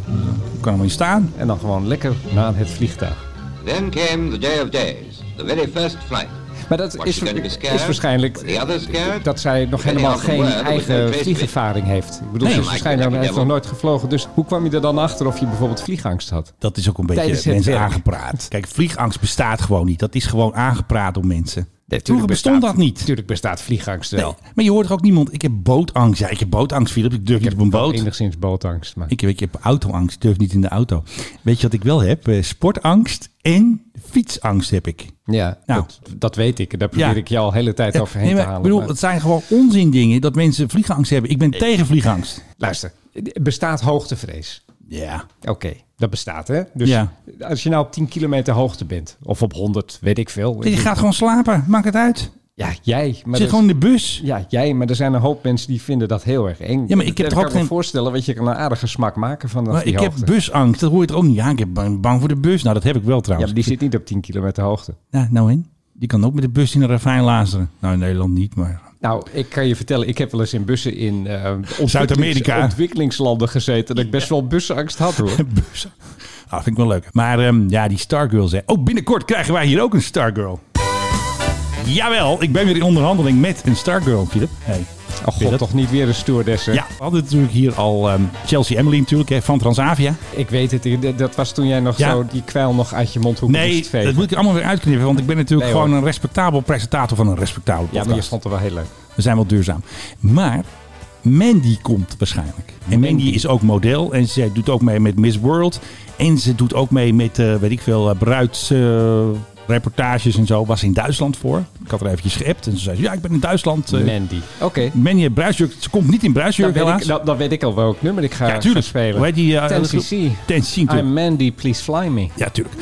E: Ik kan hem niet staan.
D: En dan gewoon lekker naar het vliegtuig.
K: Then came the day of days, the very first flight.
D: Maar dat
K: Was
D: is,
K: she gonna be scared?
D: is waarschijnlijk
K: Were the others scared?
D: dat zij nog
K: Any
D: helemaal
K: other
D: geen
K: word with no
D: eigen
K: trace of it?
D: vliegervaring heeft. Ik bedoel,
E: Nee,
D: ze is
K: maar ik
D: waarschijnlijk
K: ben
D: heeft nog
K: helemaal-
D: nooit gevlogen. Dus hoe kwam je er dan achter of je bijvoorbeeld vliegangst had?
E: Dat is ook een beetje
D: Tijdens het
E: mensen
D: werk.
E: aangepraat. Kijk, vliegangst bestaat gewoon niet. Dat is gewoon aangepraat door mensen. Vroeger bestond dat niet.
D: Natuurlijk bestaat vliegangst eh,
E: Nee,
D: wel.
E: maar je hoort toch ook niemand. Ik heb bootangst. Ja, ik heb bootangst, Philip. Ik durf niet op een
D: Wel
E: boot.
D: Enigszins bootangst. Maar.
E: Ik, ik heb autoangst. Ik durf niet in de auto. Weet je wat ik wel heb? Eh, Sportangst en fietsangst heb ik.
D: ja,
E: Nou.
D: dat, dat weet ik. Daar probeer
E: Ja.
D: ik je al de hele tijd
E: Ja,
D: overheen
E: nee, maar
D: te halen.
E: Ik bedoel,
D: maar-
E: het zijn gewoon onzin dingen dat mensen vliegangst hebben. Ik ben tegen vliegangst.
D: Luister, er bestaat hoogtevrees.
E: Ja.
D: Oké, dat bestaat hè. Dus
E: Ja.
D: als je nou op 10 kilometer hoogte bent, of op 100, weet ik veel.
E: Je gaat gewoon slapen. Maakt het uit.
D: Ja, dus jij. Maar
E: Zit
D: dat-
E: gewoon in de bus.
D: Ja, jij, maar er zijn een hoop mensen die vinden dat heel erg eng.
E: Ja, maar ik heb
D: dat
E: toch
D: kan
E: ook
D: me
E: geen-
D: voorstellen, want je kan een aardige smak maken van dat
E: Maar
D: die
E: ik heb
D: hoogte.
E: busangst. Dat hoor je er ook niet aan. Ik heb- ben bang voor de bus. Nou, dat heb ik wel
D: Ja,
E: trouwens.
D: maar die zit niet op 10 kilometer hoogte.
E: Ja, nou en? Die kan ook met de bus in een ravijn lazeren. Nou, in Nederland niet, maar...
D: Nou, ik kan je vertellen, ik heb wel eens in bussen in eh, ontwikkelings-
E: Zuid-Amerika.
D: ontwikkelingslanden gezeten dat ik best wel bussenangst had hoor.
E: Bus. Ah, vind ik wel leuk. Maar ehm, ja, die Stargirl hè. Oh, binnenkort krijgen wij hier ook een Stargirl. Jawel, ik ben weer in onderhandeling met een Stargirl, Philip. Hey.
D: Oh god,
E: dat?
D: toch niet weer een stewardess. hè?
E: Ja, we hadden natuurlijk hier al ehm, Chelsea Emily natuurlijk, hè, van Transavia.
D: Ik weet het, ik- dat- dat was toen jij nog
E: Ja.
D: zo die kwijl nog uit je mondhoek
E: Nee,
D: moest vegen.
E: dat moet ik er allemaal weer uitknippen, want ik ben natuurlijk
D: Nee, hoor.
E: gewoon een respectabel presentator van een respectabele
D: Ja,
E: podcast.
D: maar je stond er wel heel leuk.
E: We zijn wel duurzaam. Maar Mandy komt waarschijnlijk. En Mandy is ook model. En zij doet ook mee met Miss World. En ze doet ook mee met, eh, weet ik veel, bruidsreportages en zo. Was ze in Duitsland voor. Ik had er eventjes geappt. En ze zei, ja, ik ben in Duitsland. eh,
D: Mandy. Oké,
E: Mandy heeft bruidsjurk. Ze komt niet in
D: dan,
E: bruidsjurk,
D: weet
E: helaas.
D: ik- nou- dan, dan weet ik al welk nummer ik ga,
E: ja, tuurlijk.
D: ga spelen.
E: Hoe heet die? eh,
D: 10cc.
E: Ten CC, tuurlijk.
D: I'm Mandy, please fly me.
E: Ja, tuurlijk.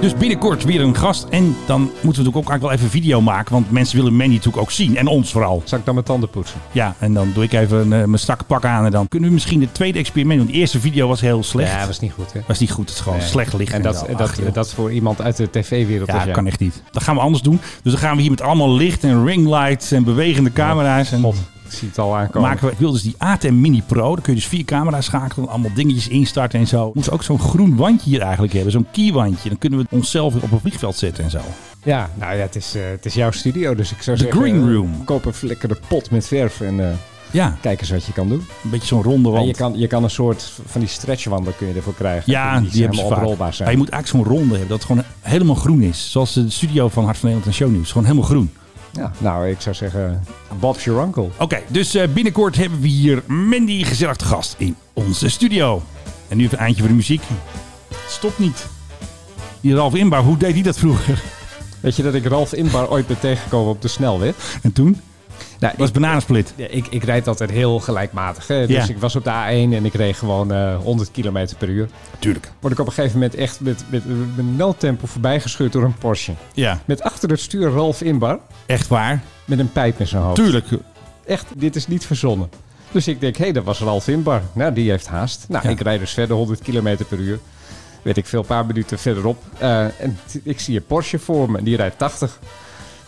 E: Dus binnenkort weer een gast. En dan moeten we natuurlijk ook eigenlijk wel even een video maken. Want mensen willen Mandy natuurlijk ook zien. En ons vooral.
D: Zal ik dan mijn tanden poetsen?
E: Ja, en dan doe ik even eh, mijn strak pak aan. En dan kunnen we misschien het tweede experiment. Want de eerste video was heel slecht.
D: Ja, was niet goed hè.
E: Was niet goed. Het is gewoon
D: Nee.
E: slecht licht.
D: En dat,
E: zo.
D: dat,
E: Ach, joh.
D: dat, voor iemand uit de tv-wereld.
E: ja,
D: als jij.
E: kan echt niet. Dat gaan we anders doen. Dus dan gaan we hier met allemaal licht en ringlights en bewegende camera's. En
D: God, ik zie het al aankomen.
E: maken we, ik wil dus die ATM Mini Pro. Daar kun je dus vier camera's schakelen. Allemaal dingetjes instarten en zo. Moeten we ook zo'n groen wandje hier eigenlijk hebben. Zo'n keywandje. Dan kunnen we onszelf op een vliegveld zetten en zo.
D: Ja, nou ja, het is, eh, het is jouw studio, dus ik zou
E: The
D: zeggen...
E: green
D: eh,
E: room.
D: Koop een flikkerde pot met verf en eh,
E: Ja,
D: kijk eens wat je kan doen.
E: een beetje zo'n ronde
D: En
E: wand.
D: je kan, je kan een soort van die stretchwanden kun je ervoor krijgen.
E: Ja, die, hebben ze
D: helemaal
E: vaak.
D: oprolbaar zijn.
E: Maar je moet eigenlijk zo'n ronde hebben dat het gewoon helemaal groen is. Zoals de studio van Hart van Nederland en Shownieuws. Gewoon helemaal groen.
D: Ja, nou, ik zou zeggen, Bob's your uncle.
E: Oké, dus eh, binnenkort hebben we hier Mandy gezellig te gast in onze studio. En nu even een eindje voor de muziek. Stop niet. Die Ralf Inbouw, hoe deed hij dat vroeger?
D: Weet je dat ik Ralf Inbar ooit ben tegengekomen op de snelweg?
E: En toen?
D: Nou,
E: Was bananensplit.
D: Ja, ik, ik rijd altijd heel gelijkmatig. Hè? Dus
E: Ja.
D: ik was op de A1 en ik reed gewoon eh 100 km per uur.
E: Tuurlijk.
D: Word ik op een gegeven moment echt met, met, met noodtempo voorbijgescheurd door een Porsche.
E: Ja,
D: Met achter het stuur Ralf Inbar
E: echt waar.
D: met een pijp in zijn hoofd.
E: Tuurlijk.
D: Echt, dit is niet verzonnen. Dus ik denk, hé, dat was Ralf Inbar. Nou, die heeft haast. Nou,
E: Ja.
D: ik rijd dus verder 100 km per uur. Weet ik veel, een paar minuten verderop. Eh, en t- ik zie een Porsche voor me en die rijdt 80.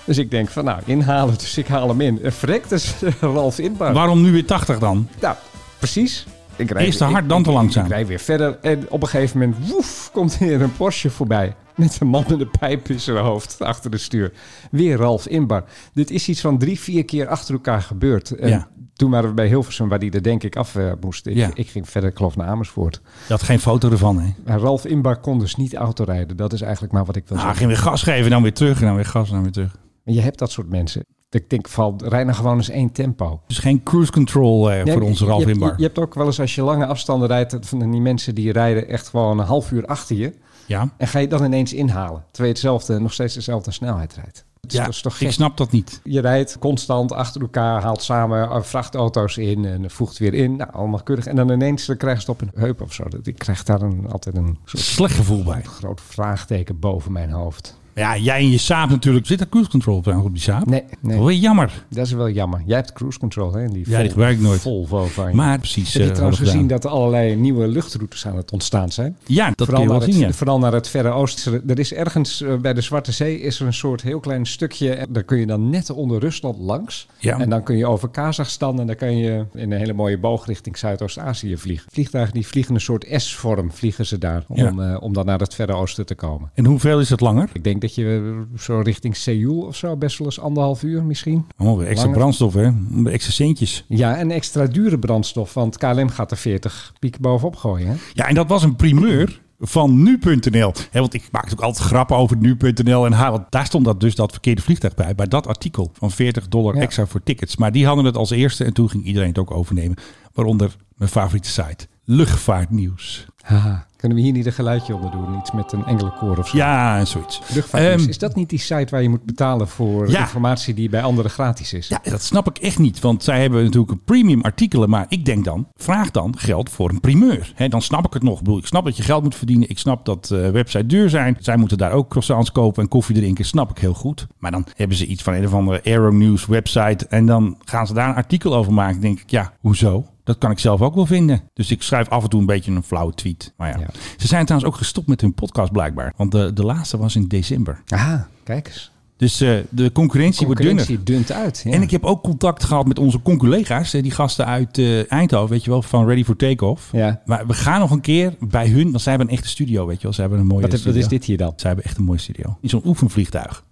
D: Dus ik denk van, nou, inhalen. Dus ik haal hem in. En verrekt is Ralf Inbar.
E: Waarom nu weer 80 dan?
D: Nou, precies. Ik rijd
E: Eerst te
D: weer-
E: hard,
D: ik-
E: dan te
D: ik-
E: langzaam.
D: Ik rijd weer verder en op een gegeven moment, woef, komt weer een Porsche voorbij. Met een man met een pijp in zijn hoofd achter de stuur. Weer Ralf Inbar. Dit is iets van drie, vier keer achter elkaar gebeurd. En
E: Ja.
D: Toen waren we bij Hilversum, waar die er denk ik af eh, moest. Ik,
E: Ja.
D: ik ging verder, ik geloof, naar Amersfoort.
E: Je had geen foto ervan, hè?
D: Maar Ralf Inbar kon dus niet autorijden. Dat is eigenlijk maar wat ik wil
E: Ah,
D: zeggen.
E: ging weer gas geven, dan weer terug, en dan weer gas, en dan weer terug.
D: Maar je hebt dat soort mensen. Ik denk, van, rij nou gewoon eens één tempo.
E: Dus geen cruise control eh,
D: Nee,
E: voor
D: maar
E: onze
D: je-
E: Ralf
D: je,
E: Inbar.
D: Je, je hebt ook wel eens als je lange afstanden rijdt, dat van die mensen die rijden echt gewoon een half uur achter je.
E: ja.
D: En ga je dan ineens inhalen, terwijl je hetzelfde, nog steeds dezelfde snelheid rijdt. Dat is,
E: ja,
D: dat is toch gek?
E: ik snap dat niet.
D: Je rijdt constant achter elkaar, haalt samen eh, vrachtauto's in en voegt weer in. Nou, allemaal keurig. En dan ineens dan krijgen ze het op een heup of zo. Dat- Ik krijg daar een, altijd een soort
E: Slecht gevoel bij.
D: groot vraagteken boven mijn hoofd.
E: Ja, jij en je Saab natuurlijk. Zit er cruise control op op die Saab?
D: Nee, nee.
E: Wel jammer.
D: Dat is wel jammer. Jij hebt cruise control, hè? Die
E: Ja, die
D: Vol-
E: gebruik ik nooit.
D: Volvo van je.
E: Maar precies.
D: Heb je
E: eh,
D: trouwens
E: hadden
D: gezien
E: gedaan.
D: dat er allerlei nieuwe luchtroutes aan het ontstaan zijn?
E: Ja, dat kun
D: vooral,
E: je wel
D: naar
E: zien, ja.
D: het, vooral naar het Verre Oosten. Er is ergens eh, bij de Zwarte Zee is er een soort heel klein stukje. En Daar kun je dan net onder Rusland langs.
E: Ja.
D: En dan kun je over Kazachstan en dan kan je in een hele mooie boog richting Zuidoost-Azië vliegen. Vliegtuigen die vliegen een soort S-vorm, vliegen ze daar. Om,
E: Ja.
D: eh, om dan naar het Verre Oosten te komen.
E: En hoeveel is het langer?
D: Ik denk dat je eh, zo richting Seoul of zo, best wel eens anderhalf uur misschien.
E: Oh, weer extra
D: Langer.
E: brandstof, hè? Weer Extra centjes.
D: Ja, en extra dure brandstof, want KLM gaat er 40 piek bovenop gooien. Hè?
E: Ja, en dat was een primeur van nu.nl. Hè, want ik maak natuurlijk altijd grappen over nu.nl en haar. Want daar stond dat dus dat verkeerde vliegtuig bij. Bij dat artikel van 40 dollar
D: Ja.
E: extra voor tickets. Maar die hadden het als eerste en toen ging iedereen het ook overnemen. Waaronder mijn favoriete site, Luchtvaartnieuws.
D: Haha, kunnen we hier niet een geluidje onder doen? Iets met een engelenkoor of zo?
E: Ja, en zoiets.
D: Luchtvaartdienst,
E: Ehm,
D: is dat niet die site waar je moet betalen voor
E: Ja.
D: informatie die bij anderen gratis is?
E: Ja, dat snap ik echt niet. Want zij hebben natuurlijk een premium artikelen. Maar ik denk dan, vraag dan geld voor een primeur. Hè, dan snap ik het nog. Ik, bedoel, ik snap dat je geld moet verdienen. Ik snap dat eh websites duur zijn. Zij moeten daar ook croissants kopen en koffie drinken. Snap ik heel goed. Maar dan hebben ze iets van een of andere Aero News website. En dan gaan ze daar een artikel over maken. denk ik, ja, hoezo? Dat kan ik zelf ook wel vinden. Dus ik schrijf af en toe een beetje een flauwe tweet. Maar ja.
D: Ja.
E: Ze zijn trouwens ook gestopt met hun podcast blijkbaar. Want de, de laatste was in december.
D: Ah, kijk eens.
E: Dus eh, de concurrentie, wordt dunner.
D: Concurrentie dunt uit. Ja.
E: En ik heb ook contact gehad met onze collega's, hè, die gasten uit eh, Eindhoven, weet je wel, van Ready for Takeoff.
D: Ja.
E: Maar we gaan nog een keer bij hun, want zij hebben een echte studio, weet je wel. Zij hebben een mooie
D: wat, heb-
E: studio.
D: wat is dit hier dan?
E: Zij hebben echt een mooie studio. In zo'n oefenvliegtuig.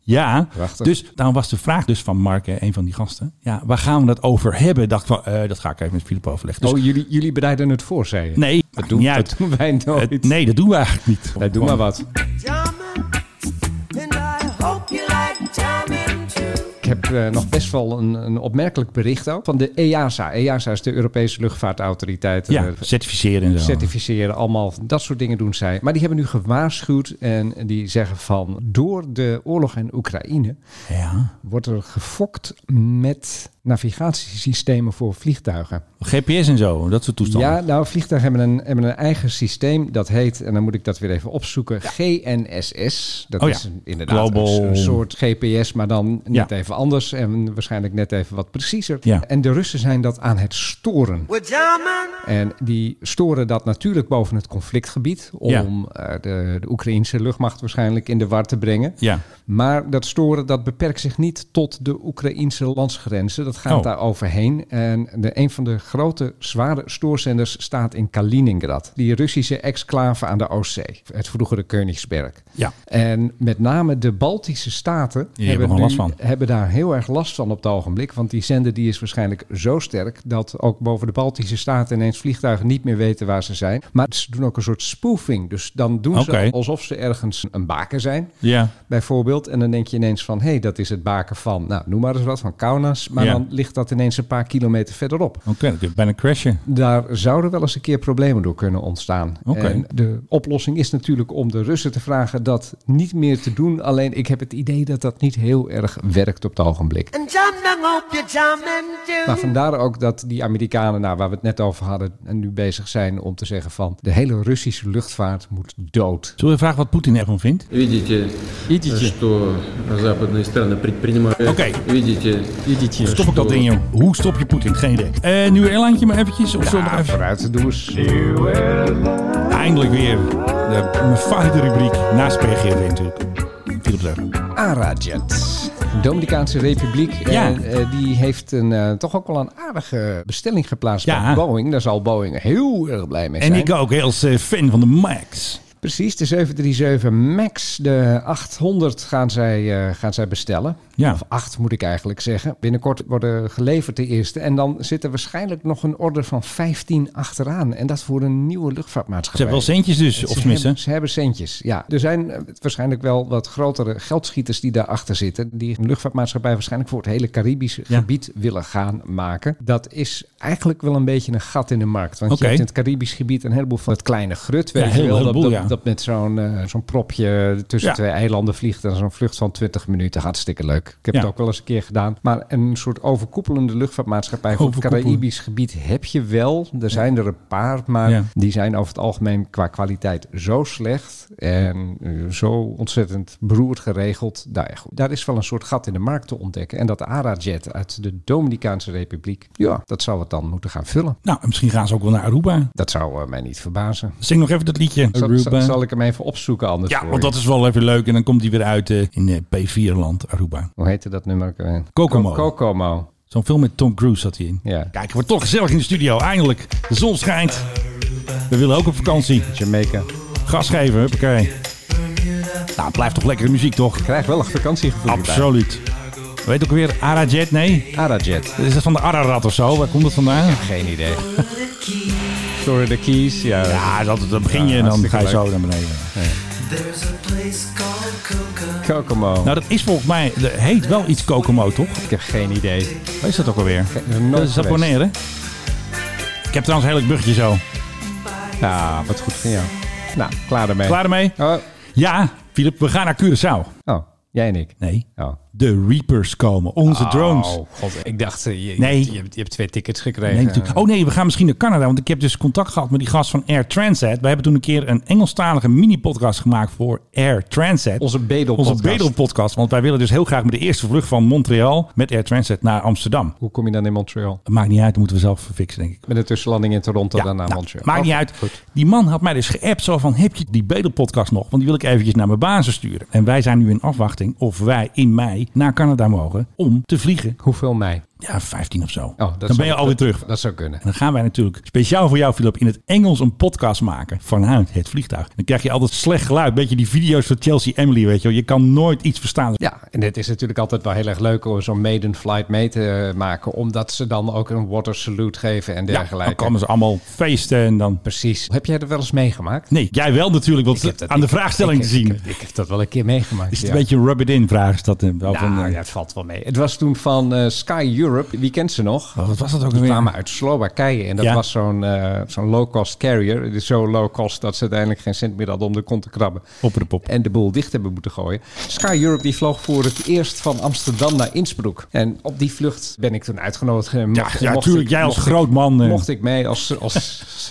E: Ja,
D: Prachtig.
E: dus daarom was de vraag dus van Mark, hè, een van die gasten. Ja, waar gaan we dat over hebben? Dacht van, eh, dat ga ik even met Filip overleggen. Dus,
D: oh, jullie, jullie bereiden het voor, zei je?
E: nee,
D: dat
E: maakt
D: doen,
E: niet
D: dat
E: uit.
D: doen wij nooit.
E: Het- nee, dat doen we eigenlijk niet.
D: Wij doen maar wat.
C: Jamming, and I hope you like jamming too.
D: Ik heb eh, nog best wel een, een opmerkelijk bericht ook van de E EASA. EASA is de Europese Luchtvaartautoriteit.
E: Ja,
D: Eh,
E: certificeren en zo.
D: certificeren, allemaal dat soort dingen doen zij. Maar die hebben nu gewaarschuwd en die zeggen van door de oorlog in Oekraïne
E: Ja.
D: wordt er gefokt met navigatiesystemen voor vliegtuigen.
E: GPS en zo, dat soort toestanden.
D: Ja, nou, vliegtuigen hebben een, hebben een eigen systeem. Dat heet, en dan moet ik dat weer even opzoeken, GNSS. Dat
E: Oh ja,
D: is een- inderdaad
E: Global-
D: een, een soort GPS, maar dan net
E: Ja.
D: even anders. En waarschijnlijk net even wat preciezer.
E: Ja.
D: En de Russen zijn dat aan het storen.
C: We're jamming,
D: En die storen dat natuurlijk boven het conflictgebied. Om
E: Ja.
D: eh, de, de Oekraïnse luchtmacht waarschijnlijk in de war te brengen.
E: Ja.
D: Maar dat storen dat beperkt zich niet tot de Oekraïnse landsgrenzen. Dat gaat
E: Oh.
D: daar overheen. En de, een van de grote, zware stoorzenders staat in Kaliningrad. Die Russische exclave aan de Oostzee. Het vroegere Königsberg.
E: Ja.
D: En met name de Baltische staten
E: Die hebben gewoon last van.
D: hebben daar heel erg last van op het ogenblik. Want die zender die is waarschijnlijk zo sterk... dat ook boven de Baltische staten ineens vliegtuigen niet meer weten waar ze zijn. Maar ze doen ook een soort spoofing. Dus dan doen
E: Oké.
D: ze alsof ze ergens een baken zijn
E: Ja.
D: bijvoorbeeld. En dan denk je ineens van, hé, hey, dat is het baken van, nou, noem maar eens wat, van Kaunas. Maar
E: Ja.
D: dan ligt dat ineens een paar kilometer verderop.
E: Oké, dan kun je bijna crashen.
D: Daar zouden wel eens een keer problemen door kunnen ontstaan.
E: Oké.
D: En de oplossing is natuurlijk om de Russen te vragen dat niet meer te doen. Alleen ik heb het idee dat dat niet heel erg werkt op het ogenblik.
C: and jamming, hope you jamming
D: Maar
C: too.
D: vandaar ook dat die Amerikanen, nou, waar we het net over hadden, en nu bezig zijn om te zeggen van de hele Russische luchtvaart moet dood.
E: Zullen we vragen wat Poetin ervan vindt?
L: Видите,
D: Iedertje,
L: что западные страны предпринимают.
E: Окей.
L: Видите,
D: iedertje.
E: Stop ik dat ding, joh. Hoe stop je Poetin? Geen idee. Eh, nieuw airline maar eventjes. Of zullen we nog even...
D: Vooruit, doe eens.
E: Eindelijk weer. De, mijn favoriete rubriek. Naast PGV natuurlijk. Philip zeggen.
D: Arajet. Dominicaanse Republiek.
E: Ja.
D: En, eh, die heeft een, eh, toch ook wel een aardige bestelling geplaatst
E: Ja.
D: bij Boeing. Daar zal Boeing heel erg blij mee zijn.
E: En ik ook als eh, fan van de Max.
D: Precies, de 737 MAX, de 800 gaan zij, eh, gaan zij bestellen.
E: Ja.
D: Of 8 moet ik eigenlijk zeggen. Binnenkort worden geleverd de eerste. En dan zit er waarschijnlijk nog een order van 15 achteraan. En dat voor een nieuwe
E: Ze
D: luchtvaartmaatschappij.
E: hebben wel centjes dus, of
D: Ze
E: tenminste.
D: hebben- Ze hebben centjes, ja. Er zijn eh, waarschijnlijk wel wat grotere geldschieters die daarachter zitten. Die een luchtvaartmaatschappij waarschijnlijk voor het hele Caribische
E: Ja.
D: gebied willen gaan maken. Dat is eigenlijk wel een beetje een gat in de markt. Want
E: Oké.
D: je hebt in het Caribisch gebied een heleboel van het kleine grut. Weet
E: Ja,
D: je
E: heel
D: wel, dat,
E: heleboel,
D: dat,
E: ja.
D: Dat met zo'n eh, zo'n propje tussen
E: Ja.
D: twee eilanden vliegt en zo'n vlucht van 20 minuten. Hartstikke leuk. Ik heb
E: Ja.
D: het ook wel eens een keer gedaan. Maar een soort overkoepelende luchtvaartmaatschappij voor het
E: Overkoepelend.
D: Caribisch gebied heb je wel. Er zijn er een paar, maar
E: Ja.
D: die zijn over het algemeen qua kwaliteit zo slecht en eh, zo ontzettend beroerd geregeld. Nou ja, goed. Daar is wel een soort gat in de markt te ontdekken. En dat ARA-jet uit de Dominicaanse Republiek, ja, dat zou het dan moeten gaan vullen.
E: Nou, en misschien gaan ze ook wel naar Aruba.
D: Dat zou eh, mij niet verbazen.
E: Zing nog even dat liedje.
D: Zal, zal, zal ik hem even opzoeken anders
E: Ja,
D: voor
E: want
D: je?
E: dat is wel even leuk. En dan komt die weer uit eh, in P4-land, Aruba.
D: Hoe heette dat nummer? ook alweer?
E: Kokomo.
D: Ko- Kokomo.
E: Zo'n film met Tom Cruise zat hij in.
D: Ja.
E: Kijk, we toch gezellig in de studio. Eindelijk. De zon schijnt. We willen ook op vakantie.
D: Jamaica.
E: Gas geven, huppakee. Nou, het blijft toch lekkere muziek, toch?
D: Krijg wel een vakantiegevoel. erbij.
E: Absoluut. Weet ook weer Arajet? Nee?
D: Arajet.
E: Is dat van de Ararat of zo? Waar komt dat vandaan?
D: Geen idee. Story the keys. Ja.
E: Ja, dat, dan begin je en dan
D: hartstikke
E: ga je zo
D: leuk.
E: naar beneden.
D: Kokomo.
E: Nou, dat is volgens mij... Dat heet wel iets Kokomo, toch?
D: ik heb geen idee.
E: Wat is dat ook alweer?
D: nooit
E: Dat is
D: geweest.
E: Japoneer, hè? Ik heb trouwens een heerlijk bugje zo.
D: Ja, wat goed van jou. Nou, klaar ermee.
E: Klaar ermee?
D: Oh,
E: Ja, Filip, we gaan naar Curaçao.
D: oh, jij en ik.
E: Nee,
D: Oh.
E: de Reapers komen. Onze drones.
D: Oh, god. Ik dacht, eh, je,
E: Nee.
D: je, hebt, je hebt twee tickets
E: Nee,
D: gekregen.
E: natuurlijk. oh nee, we gaan misschien naar Canada. Want ik heb dus contact gehad met die gast van Air Transat. We hebben toen een keer een Engelstalige mini-podcast gemaakt voor Air Transat.
D: Onze bedelpodcast.
E: Onze bedelpodcast. Want wij willen dus heel graag met de eerste vlucht van Montreal met Air Transat naar Amsterdam.
D: Hoe kom je dan in Montreal?
E: Dat maakt niet uit, dat moeten we zelf fixen, denk ik.
D: Met een tussenlanding in Toronto, dan naar
E: nou,
D: Montreal.
E: Maakt niet
D: Oké,
E: uit.
D: Goed.
E: Die man had mij dus geappt zo van, heb je die bedelpodcast nog? Want die wil ik eventjes naar mijn bazen sturen. En wij zijn nu in afwachting of wij in mei naar Canada mogen om te vliegen.
D: Oh, Hoeveel mei?
E: Ja, 15 of zo.
D: Oh, dat
E: dan
D: zou-
E: ben je alweer terug.
D: Dat zou kunnen.
E: En dan gaan wij natuurlijk speciaal voor jou, Philip, in het Engels een podcast maken vanuit het vliegtuig. Dan krijg je altijd slecht geluid. Beetje die video's van Chelsea Emily, weet je wel. Je kan nooit iets verstaan.
D: Ja, en het is natuurlijk altijd wel heel erg leuk om zo'n maiden flight mee te eh, maken. Omdat ze dan ook een water salute geven en
E: Ja,
D: dergelijke.
E: dan komen ze allemaal feesten en dan...
D: Precies. Heb jij dat wel eens meegemaakt?
E: Nee, jij wel natuurlijk,
D: Ik heb
E: want
D: dat-
E: aan de
D: ik-
E: vraagstelling
D: ik-
E: te zien.
D: Ik, ik heb dat wel een keer meegemaakt.
E: is het
D: ja.
E: een beetje een rub-it-in vraag? Is dat eh, wel
D: Nou,
E: van, eh,
D: ja, het valt wel mee. Het was toen van eh, Sky Europe. Wie kent ze nog?
E: Oh, wat was dat ook
D: Die
E: alweer?
D: kwamen uit Slowakije en dat
E: Ja.
D: was zo'n eh, zo'n low-cost carrier. Het is zo low-cost dat ze uiteindelijk geen cent meer hadden om de kont te krabben.
E: Hopper de pop.
D: En de boel dicht hebben moeten gooien. Sky Europe die vloog voor het eerst van Amsterdam naar Innsbruck. En op die vlucht ben ik toen uitgenodigd. En
E: Ja,
D: mocht-
E: ja,
D: mocht
E: tuurlijk,
D: ik-
E: jij als
D: mocht ik-
E: groot man, eh.
D: Mocht ik mee als, als,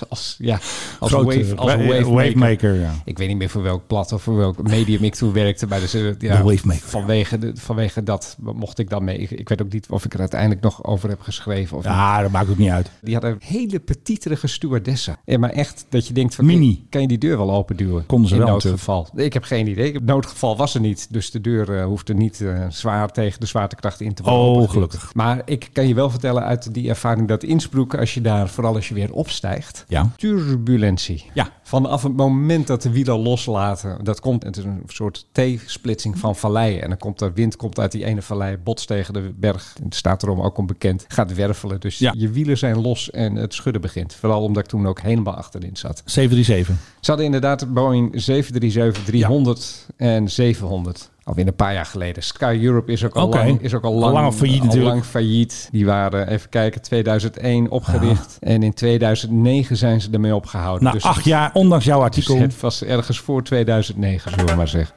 D: als, ja, als
E: Groot,
D: wave,
E: eh,
D: als
E: wa-
D: wave,
E: wavemaker, ja.
D: Ik weet niet meer voor welk plat of voor welk medium ik toen werkte. Maar dus, eh, ja,
E: De wavemaker, ja.
D: vanwege, de- vanwege dat mocht ik dan mee. Ik, ik weet ook niet of ik er uiteindelijk nog over heb geschreven. Of niet.
E: Ja, Ah, dat maakt ook niet uit.
D: Die hadden hele petiterige stewardessen. Ja, maar echt dat je denkt van...
E: Mini.
D: hey, Kan je die deur wel openduwen?
E: Konden ze
D: In
E: wel
D: noodgeval. Ik heb geen idee. Het noodgeval was er niet. Dus de deur eh, hoefde niet eh, zwaar tegen de zwaartekracht in te worden.
E: Oh,
D: opengeduwd.
E: gelukkig.
D: Maar ik kan je wel vertellen uit die ervaring dat Innsbruck... als je daar, vooral als je weer opstijgt...
E: Ja.
D: Turbulentie.
E: Ja.
D: Vanaf het moment dat de wielen loslaten... dat komt, het is een soort T-splitsing van valleien. En dan komt de wind komt uit die ene vallei... botst tegen de berg. Het staat erom ook onbekend. Gaat wervelen. Dus
E: Ja.
D: je wielen zijn los en het schudden begint. Vooral omdat ik toen ook helemaal achterin zat.
E: 737.
D: Ze hadden inderdaad Boeing 737, 300 en 700. Alweer een paar jaar geleden. Sky Europe is ook al
E: Oké.
D: lang, is ook al
E: Al
D: lang,
E: lang failliet
D: al
E: natuurlijk.
D: lang failliet. Die waren, even kijken, 2001 opgericht. En in 2009 zijn ze ermee opgehouden.
E: Na
D: Dus-
E: Nou, acht jaar, ondanks jouw
D: dus
E: artikel.
D: het was ergens voor 2009, zullen we maar zeggen.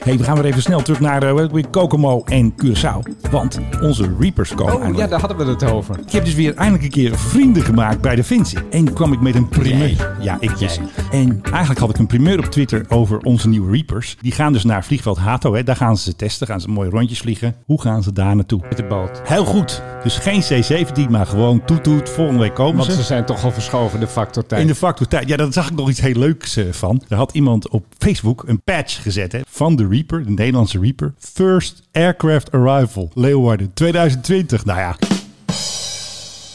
E: Oh, hey, we gaan weer even snel terug naar uh, Kokomo en Curaçao. Want onze Reapers komen
D: Oh ja,
E: eindelijk.
D: daar hadden we het over.
E: Ik heb dus weer eindelijk een keer vrienden gemaakt bij de Vinci. En kwam ik met een primeur. Ja, ik dus. En eigenlijk had ik een primeur op Twitter over onze nieuwe Reapers. Die gaan dus naar vliegveld Hato. Hè. Daar gaan ze ze testen. Gaan ze mooie rondjes vliegen. Hoe gaan ze daar naartoe?
D: Met de boot.
E: Heel goed. Dus geen C-17, maar gewoon toetoet. Volgende week komen
D: Want
E: ze.
D: ze zijn toch al verschoven, de factor tijd.
E: In de factor tijd. Ja, daar zag ik nog iets heel leuks eh, van. Er had iemand op Facebook een patch gezet hè, van de Reaper, de Nederlandse Reaper. First Aircraft Arrival, Leeuwarden 2020. Nou ja.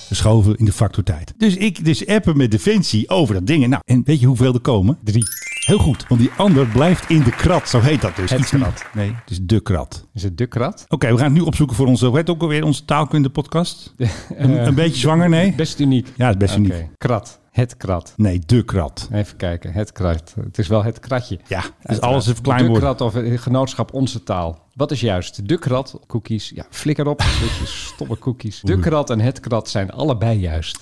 E: Geschoven in de factor tijd. Dus ik dus appen met Defensie over dat ding. En Nou, en weet je hoeveel er komen? Drie. Heel goed, want die ander blijft in de krat. Zo heet dat dus.
D: Het
E: Iets niet-
D: krat.
E: Nee, het is de krat.
D: Is het dukrat?
E: Oké, we gaan het nu opzoeken voor onze, hoe heet het ook alweer, onze taalkunde podcast? een, een beetje zwanger, nee?
D: Best uniek.
E: Ja, het is best
D: Oké.
E: uniek.
D: Krat. Het krat.
E: Nee, de krat.
D: Even kijken, het krat. Het is wel het kratje.
E: Ja, dus alles even klein
D: De
E: worden.
D: krat of eh, genootschap onze taal. Wat is juist? De krat, cookies. Ja, flikker op. Dit is stomme cookies. De krat en het krat zijn allebei juist.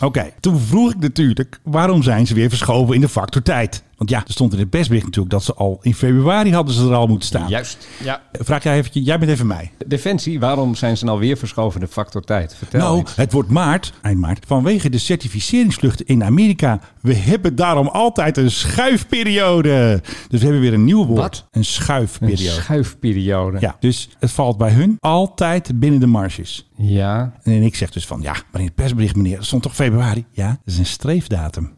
E: Oké, toen vroeg ik natuurlijk waarom zijn ze weer verschoven in de factor tijd. Want ja, er stond in het persbericht natuurlijk dat ze al in februari hadden ze er al moeten staan.
D: Juist, ja.
E: Vraag jij eventjes, jij bent even mij.
D: Defensie, waarom zijn ze nou weer verschoven in de factor tijd? Vertel
E: nou,
D: iets.
E: het wordt maart, eind maart, vanwege de certificeringsvluchten in Amerika. We hebben daarom altijd een schuifperiode. Dus we hebben weer een nieuw woord.
D: Wat?
E: Een schuifperiode.
D: Een schuifperiode.
E: ja, dus het valt bij hun altijd binnen de marges.
D: Ja.
E: En ik zeg dus van, ja, maar in het persbericht, meneer, dat stond toch februari? Ja, dat is een streefdatum.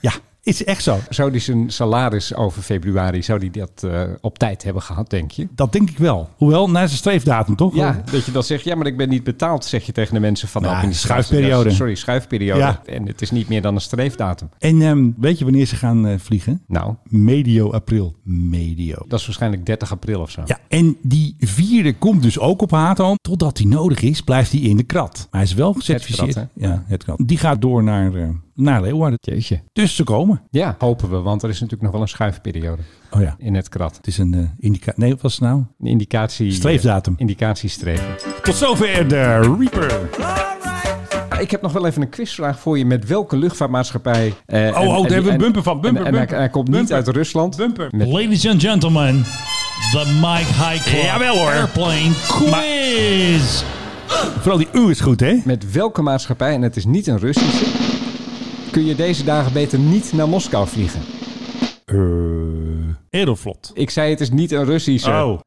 E: ja, is echt zo.
D: Zou die zijn salaris over februari, zou die dat eh, op tijd hebben gehad, denk je?
E: Dat denk ik wel. Hoewel, nou, na zijn streefdatum, toch?
D: Ja, dat je dan zegt, ja, maar ik ben niet betaald, zeg je tegen de mensen van de
E: Nou,
D: administratie.
E: schuifperiode.
D: Sorry, schuifperiode.
E: Ja.
D: En het is niet meer dan een streefdatum.
E: En ehm, weet je wanneer ze gaan eh, vliegen?
D: Nou,
E: Medio april. Medio.
D: dat is waarschijnlijk 30 april of zo.
E: Ja, en die vierde komt dus ook op Hato. Totdat die nodig is, blijft hij in de krat. Maar hij is wel gecertificeerd.
D: krat,
E: ja, het krat. Die gaat door naar, eh, naar Leeuwarden.
D: Jeetje.
E: Dus ze komen.
D: Ja, hopen we, want er is natuurlijk nog wel een schuifperiode
E: Oh ja,
D: in het krat.
E: het is een eh indicatie. Nee, wat was het nou?
D: Een indicatie...
E: Streefdatum.
D: Indicatie streven.
E: Tot zover de Reaper.
D: Ah, Ik heb nog wel even een quizvraag voor je. Met welke luchtvaartmaatschappij... eh, en-
E: oh,
D: en
E: daar
D: die-
E: hebben we een
D: en-
E: bumper van. Bumper,
D: en- en hij-
E: bumper.
D: hij komt niet
E: Bumper.
D: uit Rusland.
E: Bumper.
D: Met-
J: Ladies and gentlemen, the Mike High Club
E: Jawel, hoor.
J: Airplane Quiz.
E: Vooral die U is goed, hè?
D: Met welke maatschappij, en het is niet een Russische, kun je deze dagen beter niet naar Moskou vliegen?
E: Eh Aeroflot.
D: Ik zei het is niet een Russische.
E: Oh.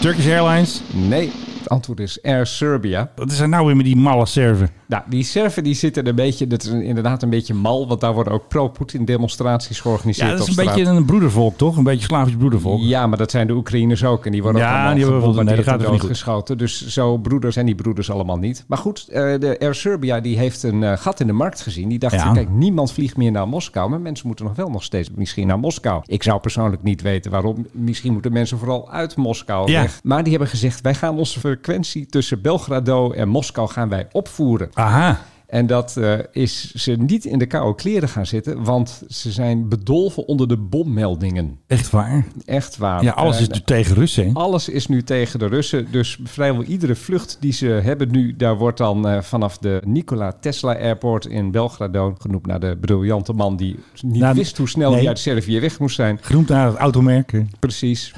E: Turkish Airlines.
D: Nee, het antwoord is Air Serbia.
E: Wat is er nou weer met die malle server?
D: Nou, die Serven die zitten er een beetje, dat is inderdaad een beetje mal, want daar worden ook pro-Poetin demonstraties
E: Ja,
D: georganiseerd
E: dat is
D: op
E: een
D: straat.
E: beetje een broedervolk, toch? Een beetje Slavisch broedervolk.
D: Ja, maar dat zijn de Oekraïners ook. En die worden
E: Ja,
D: ook allemaal
E: die hebben we wel- nee,
D: gebombardeerd
E: dat gaat
D: en
E: toch niet goed.
D: doodgeschoten. Dus zo broeders zijn die broeders allemaal niet. Maar goed, eh, de Air Serbia die heeft een eh, gat in de markt gezien. Die dacht,
E: Ja.
D: kijk, niemand vliegt meer naar Moskou. Maar mensen moeten nog wel nog steeds misschien naar Moskou. Ik zou persoonlijk niet weten waarom. Misschien moeten mensen vooral uit Moskou
E: Ja.
D: weg. Maar die hebben gezegd, wij gaan onze frequentie tussen Belgrado en Moskou gaan wij opvoeren.
E: Aha.
D: En dat eh, is ze niet in de koude kleren gaan zitten, want ze zijn bedolven onder de bommeldingen.
E: Echt waar?
D: Echt waar.
E: Ja, alles
D: Eh,
E: is natuurlijk tegen Russen, hè?
D: alles is nu tegen de Russen. Dus vrijwel iedere vlucht die ze hebben nu, daar wordt dan eh, vanaf de Nikola Tesla Airport in Belgrado genoemd naar de briljante man die niet
E: Nou,
D: wist hoe snel
E: nee.
D: hij uit Servië weg moest zijn.
E: Genoemd naar het automerk. hè?
D: Precies.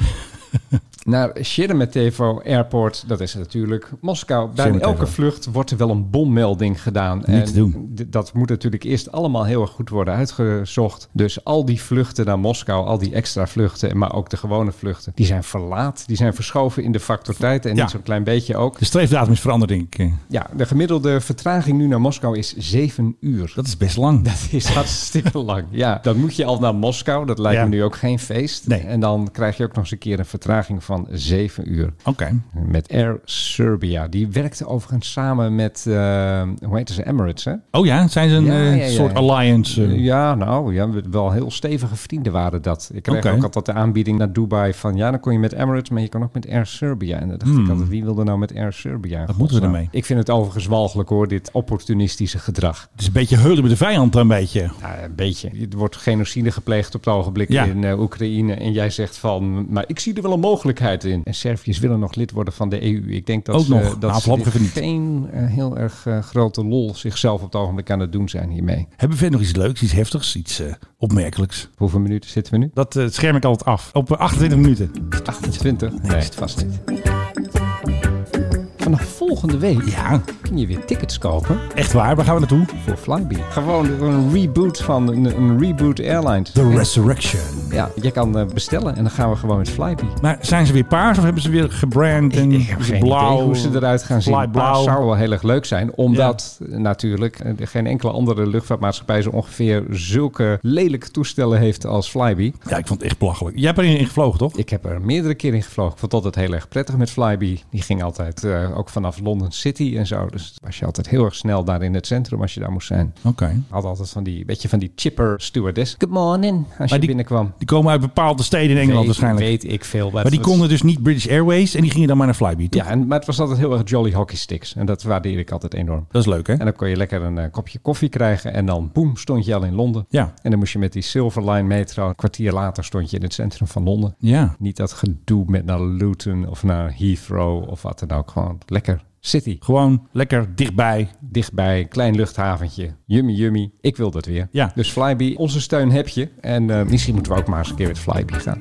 D: Naar Sheremetevo Airport, dat is natuurlijk Moskou. Bij
E: Sheremetevo.
D: elke vlucht wordt er wel een bommelding gedaan. Niet
E: te doen.
D: Dat moet natuurlijk eerst allemaal heel erg goed worden uitgezocht. Dus al die vluchten naar Moskou, al die extra vluchten, maar ook de gewone vluchten, die zijn verlaat. Die zijn verschoven in de factor tijd en
E: Ja.
D: niet zo'n klein beetje ook.
E: De streefdatum is veranderd, denk ik. eh.
D: Ja, de gemiddelde vertraging nu naar Moskou is zeven uur.
E: Dat is best lang.
D: Dat is hartstikke lang. Ja, dan moet je al naar Moskou. Dat lijkt
E: Ja.
D: me nu ook geen feest.
E: Nee.
D: En dan krijg je ook nog eens een keer een vertraging van zeven uur.
E: Oké.
D: Met Air Serbia. Die werkte overigens samen met, eh, hoe heet ze, Emirates, hè?
E: Oh ja, zijn ze een
D: Ja,
E: eh,
D: ja, ja,
E: soort
D: ja.
E: alliance? eh?
D: Ja, nou, ja, wel heel stevige vrienden waren dat. Ik kreeg
E: Oké.
D: ook altijd de aanbieding naar Dubai van... ja, dan kon je met Emirates, maar je kan ook met Air Serbia. En dan dacht ik altijd, wie wilde nou met Air Serbia? Wat
E: Hmm. moeten we ermee?
D: Ik vind het overigens walgelijk, hoor, dit opportunistische gedrag.
E: Het is een beetje heulen met de vijand dan een beetje.
D: Ja, Nou, een beetje. Er wordt genocide gepleegd op het ogenblik
E: Ja.
D: in eh, Oekraïne. En jij zegt van, maar ik zie er wel een mogelijkheid in. En Serviërs willen nog lid worden van de EU. Ik denk dat
E: Ook
D: ze,
E: nog. Nou,
D: dat ze
E: voorlopig
D: dit
E: even niet.
D: geen eh, heel erg eh, grote lol zichzelf op het ogenblik aan het doen zijn hiermee.
E: Hebben we verder nog iets leuks, iets heftigs, iets eh, opmerkelijks?
D: Hoeveel minuten zitten we nu?
E: Dat eh, scherm ik altijd af. Op eh, 28 minuten.
D: 28? Nee, het vast niet. Vanaf volgende week
E: Ja,
D: kun je weer tickets kopen
E: echt waar. Waar gaan we naartoe?
D: voor Flybe. Gewoon een reboot van een, een reboot airlines.
E: The Resurrection.
D: Ja, je kan eh, bestellen en dan gaan we gewoon met Flybe.
E: Maar zijn ze weer paars of hebben ze weer gebrand en
D: Ik heb geen
E: blauw?
D: idee hoe ze eruit gaan
E: Fly
D: zien. Maar
E: blauw.
D: het zou wel heel erg leuk zijn, omdat natuurlijk eh, geen enkele andere luchtvaartmaatschappij zo ongeveer zulke lelijke toestellen heeft als Flybe.
E: Ja, ik vond het echt belachelijk. Jij hebt erin ingevlogen, toch?
D: Ik heb er meerdere keren in gevlogen. Ik vond het altijd heel erg prettig met Flybe. Die ging altijd eh, ook vanaf London City en zo. Dus was je altijd heel erg snel daar in het centrum als je daar moest zijn.
E: Oké.
D: Had altijd van die, beetje van die chipper stewardess. Good morning, als je
E: die-
D: binnenkwam.
E: Die komen uit bepaalde steden in Engeland
D: Weet-
E: waarschijnlijk.
D: Weet ik veel.
E: Maar die konden dus niet British Airways en die gingen dan maar naar Flybe. toch?
D: Ja, en, maar het was altijd heel erg jolly hockey sticks. En dat waardeerde ik altijd enorm.
E: Dat is leuk, hè?
D: En dan kon je lekker een eh, kopje koffie krijgen. En dan, boem, stond je al in Londen.
E: Ja.
D: En dan moest je met die Silver Line metro. Een kwartier later stond je in het centrum van Londen.
E: Ja.
D: Niet dat gedoe met naar Luton of naar Heathrow of wat dan ook. Gewoon lekker City.
E: Gewoon lekker dichtbij.
D: Dichtbij, klein luchthaventje. Yummy, yummy. Ik wil dat weer.
E: Ja.
D: Dus Flybe, onze steun heb je. En eh, misschien moeten we ook maar eens een keer met Flybe gaan.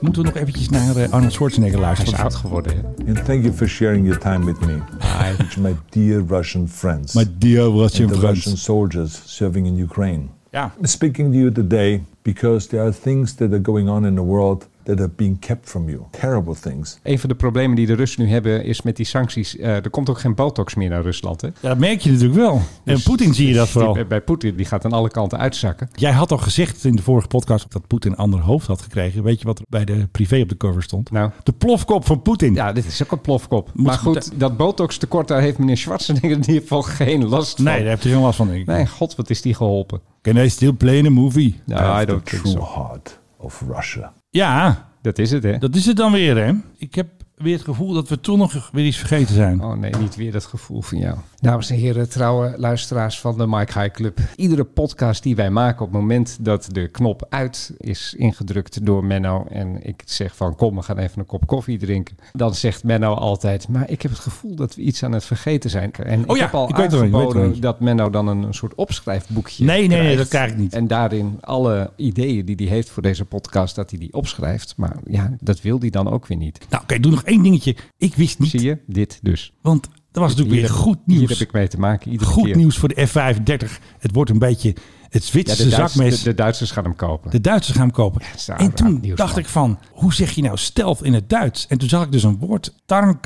E: Moeten we nog eventjes naar eh, Arnold Schwarzenegger luisteren?
D: Hij is oud geworden, hè?
A: And thank you for sharing your time with me.
D: Hi.
A: To my dear Russian friends.
E: My dear Russian
A: and the
E: friends.
A: Russian soldiers serving in Ukraine.
E: Yeah.
A: I'm speaking to you today because there are things that are going on in the world that are being kept from you. Terrible things.
D: Een van de problemen die de Russen nu hebben is met die sancties. eh, er komt ook geen botox meer naar Rusland. Hè?
E: Ja, dat merk je natuurlijk wel. en
D: Dus-
E: Poetin zie je dat
D: dus die-
E: vooral.
D: bij Poetin, die gaat aan alle kanten uitzakken.
E: Jij had al gezegd in de vorige podcast dat Poetin een ander hoofd had gekregen. Weet je wat er bij de privé op de cover stond?
D: Nou.
E: De plofkop van Poetin.
D: Ja, dit is ook een plofkop.
E: Moet-
D: maar goed, dat botox tekort, daar heeft meneer Schwarzenegger in ieder geval geen last van.
E: nee, daar heeft hij geen last van. Denk ik.
D: Mijn god, wat is die geholpen.
E: Can I still play in a movie?
D: Nou, I don't
A: the
D: think
A: true
D: so.
A: heart of Russia.
E: Ja,
D: Dat is het, hè?
E: dat is het dan weer hè. Ik heb weer het gevoel dat we toch nog weer iets vergeten zijn.
D: Oh nee, niet weer dat gevoel van jou. Dames en heren, trouwe luisteraars van de Mike High Club. Iedere podcast die wij maken op het moment dat de knop uit is ingedrukt door Menno... en ik zeg van kom, we gaan even een kop koffie drinken... dan zegt Menno altijd, maar ik heb het gevoel dat we iets aan het vergeten zijn. En
E: Oh ja,
D: ik heb al
E: ik weet het wel, ik weet het wel
D: aangeboden
E: niet.
D: dat Menno dan een, een soort opschrijfboekje
E: Nee, nee, nee,
D: krijgt.
E: dat krijg ik niet.
D: En daarin alle ideeën die hij heeft voor deze podcast, dat hij die opschrijft. Maar ja, dat wil hij dan ook weer niet.
E: Nou oké, doe nog één dingetje. Ik wist
D: Zie
E: niet,
D: je? Dit dus.
E: want dat was natuurlijk
D: Hier
E: weer
D: heb-
E: goed
D: Hier heb
E: nieuws.
D: ik mee te maken iedere
E: Goed
D: keer.
E: nieuws voor de F-35. Het wordt een beetje het
D: Ja,
E: Zwitserse
D: de, Duits-
E: zakmes.
D: de, de Duitsers gaan hem kopen.
E: De Duitsers gaan hem kopen.
D: dat is een
E: en
D: raar
E: toen
D: nieuws,
E: dacht
D: man.
E: ik van, hoe zeg je nou stealth in het Duits? En toen zag ik dus een woord,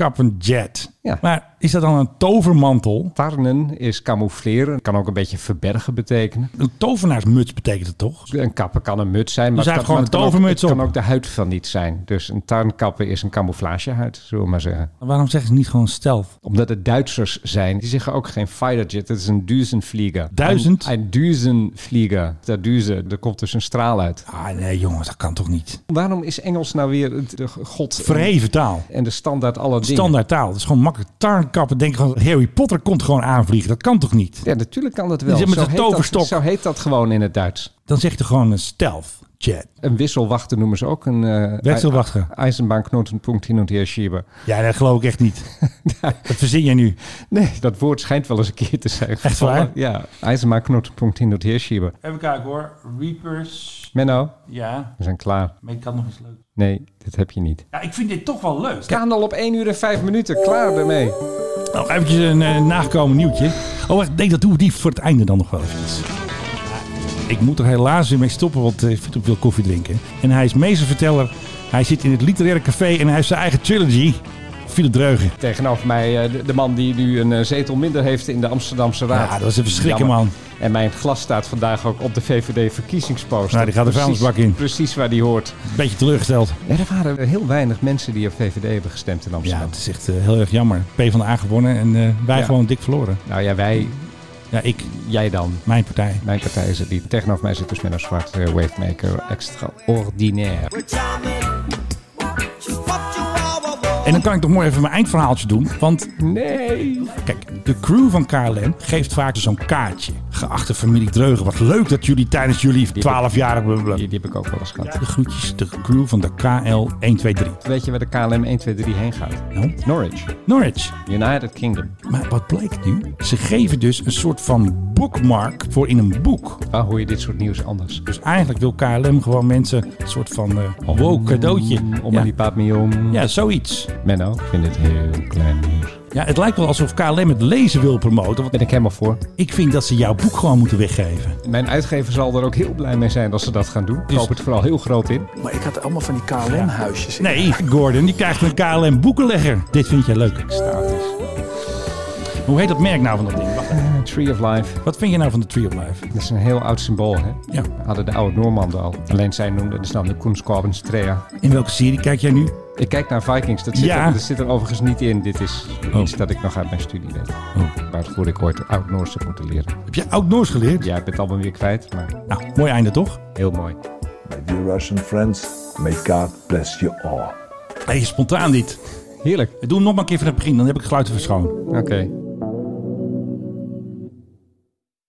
E: tarnkappenjet.
D: Ja.
E: Maar is dat dan een tovermantel?
D: Tarnen is camoufleren. Kan ook een beetje verbergen betekenen.
E: Een tovenaarsmuts betekent het toch?
D: Een kappen kan een muts zijn.
E: Dus
D: het
E: hij heeft
D: kan-
E: gewoon
D: het
E: een
D: kan ook-
E: tovermuts
D: Het kan
E: op.
D: ook de huid van niet zijn. Dus een tarnkappen is een camouflagehuid, zullen we maar zeggen.
E: Maar Waarom zeggen ze niet gewoon stealth?
D: Omdat het Duitsers zijn. Die zeggen ook geen fighterjet. Het is een duizendvlieger.
E: Duizend?
D: Een, een duizendvlieger. Dat duizen, er komt dus een straal uit.
E: Ah nee jongens, dat kan toch niet?
D: Waarom is Engels nou weer het- de god...
E: Verheven taal.
D: En de standaard alle dingen.
E: Standaard taal. Dat is gewoon makkelijk. Tarnkappen, denk gewoon, Harry Potter komt gewoon aanvliegen. Dat kan toch niet?
D: Ja, natuurlijk kan dat wel.
E: Die zit met
D: Zo
E: de
D: heet dat-
E: toverstok.
D: zo heet dat gewoon in het Duits.
E: Dan zegt er gewoon een stealth jet.
D: Een wisselwachter noemen ze ook. Een uh,
E: Wechselwachter.
D: Eisenbahnknotenpunkt hin und her schieben.
E: Ja, dat geloof ik echt niet. Dat verzin jij nu.
D: Nee, dat woord schijnt wel eens een keer te zijn.
E: Echt waar?
D: gevallen. Ja, Eisenbahnknotenpunkt hin und her schieben.
E: Even kijken hoor. Reapers.
D: Menno,
E: Ja.
D: we zijn klaar.
E: Maar ik had nog iets leuks.
D: Nee, dit heb je niet.
E: Ja, ik vind dit toch wel leuk.
D: We gaan al op 1 uur en 5 minuten. Klaar ermee.
E: Nog eventjes een eh, nagekomen nieuwtje. Oh, wacht, nee, dat doen we die voor het einde dan nog wel eventjes. Ik moet er helaas weer mee stoppen, want eh, Philip wil koffie drinken. En hij is meesterverteller. Hij zit in het literaire café en hij heeft zijn eigen trilogy. Philip Dreugen.
D: Tegenover mij eh, de, de man die nu een eh, zetel minder heeft in de Amsterdamse Raad.
E: Ja, dat is een verschrikken,
D: Jammer.
E: man.
D: En mijn glas staat vandaag ook op de VVD-verkiezingsposter.
E: Nou, die gaat de
D: Precies-
E: vuilnisbak in.
D: Precies waar die hoort.
E: Beetje teleurgesteld.
D: Ja, er waren heel weinig mensen die op VVD hebben gestemd in
E: Ja,
D: Amsterdam.
E: het is echt eh, heel erg jammer. P van de A gewonnen en eh, wij
D: Ja.
E: gewoon dik verloren.
D: Nou ja, wij,
E: Ja, ik,
D: jij dan.
E: mijn partij.
D: Mijn partij is het niet. Tegenover mij zit dus Menno Zwart, eh, Wavemaker, extraordinair.
E: En dan kan ik toch mooi even mijn eindverhaaltje doen. Want
D: Nee.
E: Kijk, de crew van KLM geeft vaak zo'n kaartje. Geachte familie Dreugen, wat leuk dat jullie tijdens jullie 12 jaar...
D: Die, die heb ik ook wel eens gehad.
E: De groetjes, de crew van de KL 123.
D: Weet je waar de KLM 123 heen gaat?
E: Nou,
D: Norwich,
E: Norwich.
D: United Kingdom.
E: Maar wat blijkt nu? Ze geven dus een soort van bookmark voor in een boek.
D: Waar hoor je dit soort nieuws anders?
E: Dus eigenlijk wil KLM gewoon mensen een soort van eh wow cadeautje.
D: Om
E: ja.
D: die paap mee om.
E: ja, zoiets.
D: Menno, ik vind het heel klein nieuws.
E: Ja, het lijkt wel alsof KLM het lezen wil promoten. Want
D: Ben ik helemaal voor.
E: ik vind dat ze jouw boek gewoon moeten weggeven.
D: Mijn uitgever zal er ook heel blij mee zijn als ze dat gaan doen. Ik hoop het vooral heel groot in.
M: Maar ik had allemaal van die KLM-huisjes.
E: Nee, Gordon, die krijgt een KLM boekenlegger. Dit vind jij leuk. Status. Hoe heet dat merk nou van dat ding? Wacht,
D: Eh, Tree of Life.
E: Wat vind je nou van de Tree of Life?
D: Dat is een heel oud symbool, hè?
E: Ja.
D: Hadden de oude Noormanden al. Alleen zij noemden de naam de Kunstkorbensstrea.
E: In welke serie kijk jij nu?
D: Ik kijk naar Vikings. Dat zit,
E: Ja.
D: er, dat zit er overigens niet in. Dit is
E: Oh.
D: iets dat ik nog uit mijn studie weet.
E: Oh.
D: Waarvoor ik ooit Oud-Noors heb moeten leren.
E: Heb je Oud-Noors geleerd?
D: Ja, ik ben het allemaal weer kwijt, maar
E: Nou, mooi einde toch?
D: heel mooi.
A: My dear Russian friends, may God bless you all.
E: Hey, spontaan dit.
D: Heerlijk.
E: Doe hem nog maar een keer van het begin, dan heb ik geluid even schoon.
D: Oké.